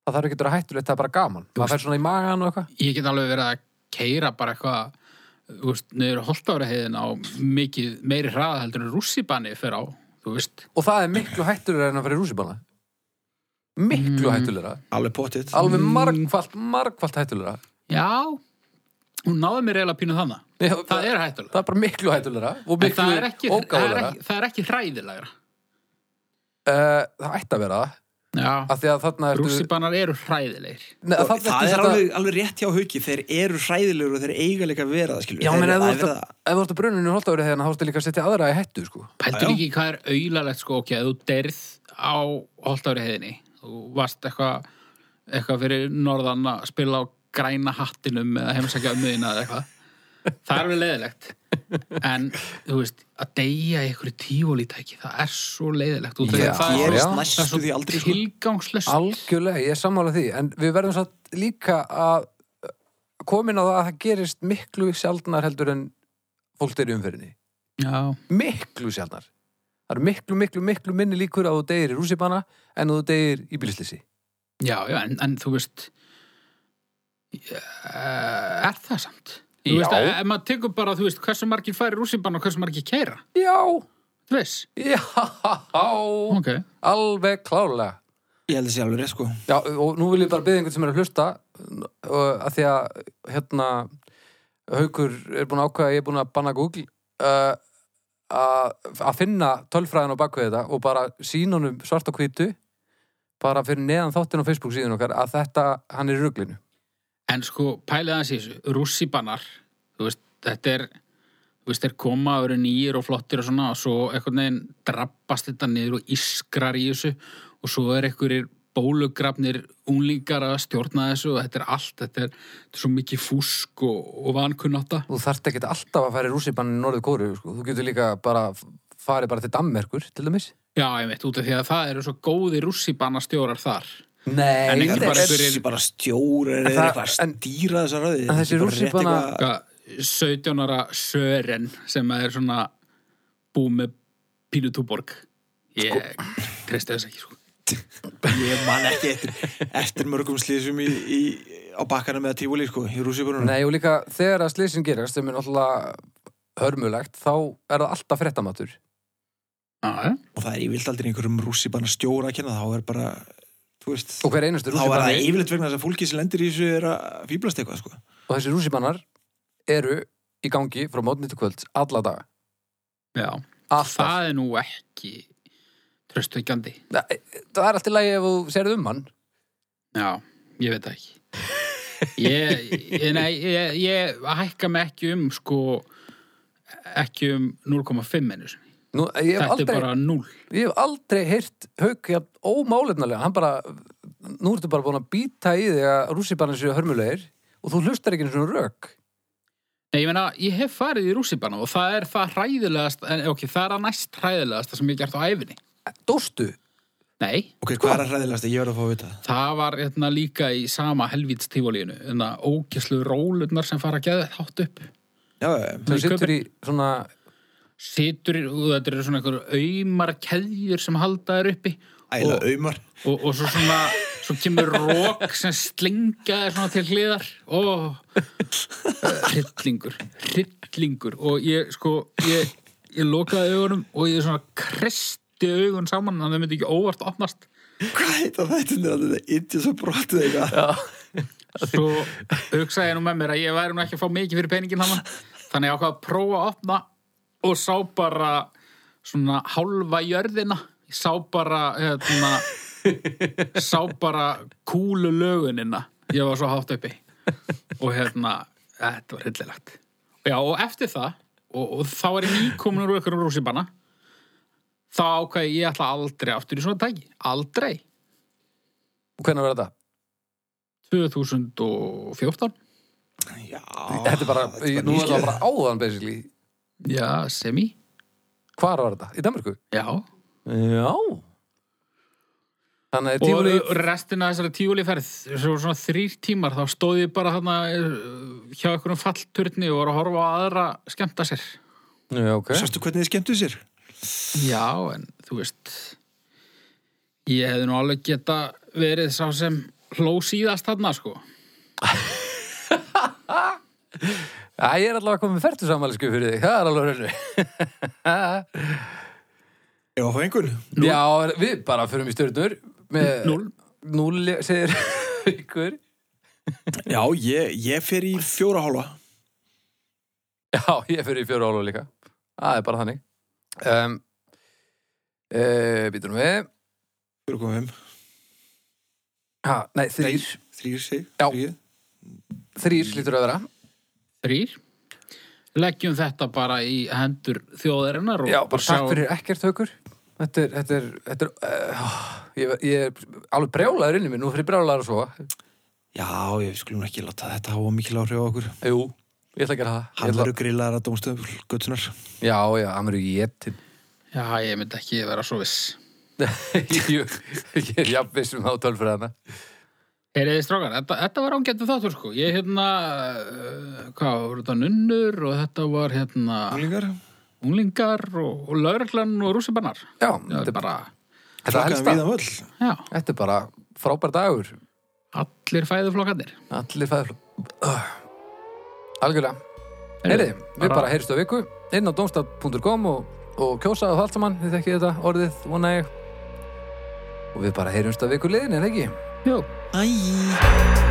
S3: Það þarf ekki að vera hættulegt, það er bara gaman. Maður fær svona í magan og eitthvað.
S2: Ég get alveg verið að keira bara eitthvað, þú veist, niður holtáraheiðin á mikið meiri hraða heldur en rússibanni fyrir á, þú veist.
S3: Og það er miklu hættulegra en að fara í rússibanna. Miklu
S2: Mm.
S3: hættulegra.
S1: alveg pottitt
S3: Alveg
S2: Mm.
S3: margfalt, margfalt hættulegra.
S2: Já. Hún náði mér eiginlega pínu þannig.
S3: Já,
S2: Það er hættulegt.
S3: það er bara miklu hættulegra og
S2: En
S3: miklu
S2: það er ekki, það er
S3: ógáðulegra.
S2: ekki, það er ekki hræðilegra.
S3: Uh, það ætti að vera það.
S2: Já.
S3: af því að þarna ertu
S2: Rússibannar eru hræðilegir.
S3: Nei,
S1: og
S3: þarna
S1: það,
S3: ertu sem
S1: er
S3: sagt að-
S1: alveg, alveg rétt hjá hauki þeir eru hræðilegur og þeir eiga líka að vera það skilur,
S3: Já, menn
S1: þeir,
S3: ef þú
S1: það er
S3: ert
S1: verið
S3: að- ef þú ert að bruninu holtafrið þegar hérna, þá ertu líka að setja aðra í hættu sko.
S2: Pæltur
S1: Já.
S2: ekki hvað er auðalegt sko, ok, að þú derð á holdári heiðinni. Þú varst eitthvað eitthva fyrir norðan að spila á græna hattinum eða heimsækja ömmuðina eða eitthvað. Það er alveg leiðilegt. En, þú veist, að deyja í einhverju tífólítæki, það er svo leiðilegt. Út af því að
S3: Já.
S2: það
S1: það
S2: er,
S3: Já.
S1: gerist
S2: það er
S1: næstu því
S2: svo
S1: aldrei sko.
S2: tilgangslöst.
S3: algjörlega, ég er sammála því en við verðum satt líka að komin á það að það gerist miklu sjaldnar heldur en fólk er í umferðinni
S2: Já,
S3: miklu sjaldnar það eru miklu, miklu, miklu minni líkur að þú deyir í rússipanna en að þú deyir í bílislýsi
S2: já, já, en, en þú veist, eh, er það samt? Þú
S3: Já.
S2: veist, ef maður tekur bara, þú veist, hversu margir færi rússibann og hversu margir keira,
S3: já,
S2: þú veist?
S3: já
S2: Ok.
S3: alveg klálega
S1: ég held að sé alveg rétt sko
S3: Já, og nú vil ég bara byggja einhvern sem er að hlusta uh, að því að hérna haukur er búin að ákveða að ég er búin að banna Google uh, að að finna tölfræðin á bakveð þetta og bara sína honum svart á hvítu bara fyrir neðan þáttinn á Facebook síðan okkar að þetta, hann er í ruglinu
S2: En sko, pælið aðeins í þessu, rússibannar, þú veist, þetta er, þú veist, þeir koma og eru nýjir og flottir og svona og svo einhvern veginn drabbast þetta niður og iskrar í þessu og svo er einhverjir bólugrafnir unglingar að stjórna þessu og þetta er allt, þetta er, þetta er svo mikið fúsk og, og vankunnáta.
S3: Þú þarft ekki alltaf að færi rússipann í norðu kóru sko. þú getur líka bara farið bara til Danmerkur til dæmis
S2: Já, ég veit, út af því að það eru svo góði rússibannastjórar þar.
S3: Nei,
S2: En ekki
S3: þetta
S2: bara
S3: er-
S2: einhver-
S1: þessi bara stjórar eða
S3: það-
S1: eitthvað að
S3: en-
S1: stýra þessar ráði
S3: en þessi rússíbana-
S2: Hvað, 17 ára Sören sem er svona bú með pínu túborg ég treysti þess ekki sko.
S1: ég man ekki eftir, eftir mörgum slísum í, í, á bakkanum með tífúli sko, í rússibunum
S3: Nei og líka þegar að slýsin gerast sem er náttúrulega hörmulegt þá er það alltaf fréttamatur
S2: Já,
S1: og það er yfirlt aldrei einhverjum rússibanna stjóra að kenna, þá er bara þú veist,
S3: og hver einastur
S1: þá er það
S3: rússipanni
S1: yfirleitt vegna þess að fólki sem lendir í þessu er að fýblast eitthvað sko.
S3: og þessi rússipannar eru í gangi frá mótni til kvölds alla daga
S2: Já,
S3: Alltaf.
S2: það er nú ekki tröstveikjandi.
S3: Það, e, það er alltaf lægi ef þú serðu um hann.
S2: Já, ég veit það ekki. Ég, ég, nei, ég, ég hækka mig ekki um sko ekki um 0,5 einu sinni.
S3: Nú, ég hef
S2: Þetta
S3: aldrei,
S2: er bara 0.
S3: ég hef aldrei heyrt hauk jafn ómálefnalega. Hann bara, nú ertu bara búin að býta í því að rússipanir séu hörmulegir og þú hlustar ekki einu svona rök.
S2: Nei, ég meina, ég hef farið í rússipanna og það er það hræðilegast, en ok, það er að næst hræðilegast sem ég hef gert á æfinni.
S3: Dóstu?
S2: Nei,
S1: Ok, hvað
S3: Sko-
S1: er að hræðilegast? Ég verð að fá að vita það.
S2: það var hérna líka í sama helvíts tífólíinu, en það ógæslu rólurnar sem fara að geða þátt upp.
S1: Já, já,
S3: Þú
S2: Í
S3: situr í
S2: Köben.
S3: svona,
S2: Situr, í- og þetta eru svona einhverjum aumar keðjur sem halda þér uppi
S1: æla
S2: og,
S1: auðmar.
S2: og, og svo svona, svo kemur rók sem slinga þér svona til hliðar. Ó, hryllingur, hryllingur. Og ég, sko, ég, ég lokaði augunum og ég svona kristi augun saman, þannig að það myndi ekki óvart opnast.
S1: Hvað heita þættinir að þetta indjus og brotið eitthvað?
S2: svo Sko, hugsaði ég nú með mér að ég væri nú ekki að fá mikið fyrir peningin hann þannig ég ákvað að prófa að opna og sá bara svona hálfa jörðina ég sá bara hérna, sá bara kúlu lögunina ég var svo hátt uppi og hérna, þetta var hryllilegt já og eftir það og, og þá er ég nýkomin úr ykkur um rússipanna þá ákvað ég ætla aldrei aftur í svona tæki, aldrei
S3: hvernig var þetta?
S2: 2014
S1: Já.
S3: þetta er bara,
S1: Ah, er
S3: nú er þetta
S1: nýskið.
S3: bara áðan basically.
S2: Já, semi.
S3: Hvar var þetta? Í Danmarku?
S2: Já.
S3: Já. Þannig að tífur
S2: Og restina af þessari tífúli ferð, svo svona þrýr tímar, þá stóð ég bara þarna eh, hjá einhverjum fallturni og var að horfa á aðra skemmta sér.
S3: Já, ok.
S1: Sástu hvernig þið skemmtu sér?
S2: Já, en þú veist, ég hefði nú alveg geta verið sá sem hló síðast þarna, sko.
S3: Æ, ég er allavega komið fertu samanlísku fyrir þig. Það er alveg reynu.
S1: Já, það var einhvern.
S3: Já, við bara förum í stjörnur með...
S2: Núll.
S3: Núll, já, segir ykkur.
S1: Já, ég, ég fer í fjóra hálfa.
S3: Já, ég fyrir í fjóra álu líka. Það er bara þannig. Um, e, Býtum við.
S1: Fjóra komum heim.
S3: Ha, nei, þrýr.
S1: Þrýr, sig.
S3: Já.
S1: þrír.
S3: Þrýr lítur að vera.
S2: Þrýr. Leggjum þetta bara í hendur þjóðarinnar og,
S3: Já,
S2: og
S3: bara takk fyrir ekkert haukur. Þetta er, þetta er, þetta er, uh, ég, ég er alveg brjálaður inn í mér. Nú fyrir brjálaður að sofa.
S1: Já, ég skulum ekki láta þetta hafa mikil áhrif á okkur.
S3: Jú, ég ætla að gera það. Ég
S1: Hann
S3: ætla,
S1: verður grillaðar að dómstöðum göttunar.
S3: já, já, hann verður getinn.
S2: Já, ég myndi ekki vera svo viss.
S3: Jú, ég er um jafnvissum á tölfræðana.
S2: Heyriði strákar, þetta, þetta var ángættu þáttur sko. Ég hérna, uh, hvað voru þetta nunnur og þetta var hérna
S3: Ah.
S1: Unglingar?
S2: unglingar og, og lauruglan og rússibannar.
S3: Já,
S2: Þetta er bara,
S3: þetta
S1: Flokkaðum
S3: helst
S1: við
S3: að,
S1: það völl.
S2: já,
S3: þetta er bara frábær dagur.
S2: allir fæðuflokkarnir.
S3: Allir fæður. Algjörlega. Heyri, við bara heyrstu á viku, inn á domstaf.com og, og kjósaðu það allt saman, þið þekkið þetta orðið, vona ég. Og við bara heyrjumst á viku liðin, er það ekki?
S2: Jú.
S1: Æj.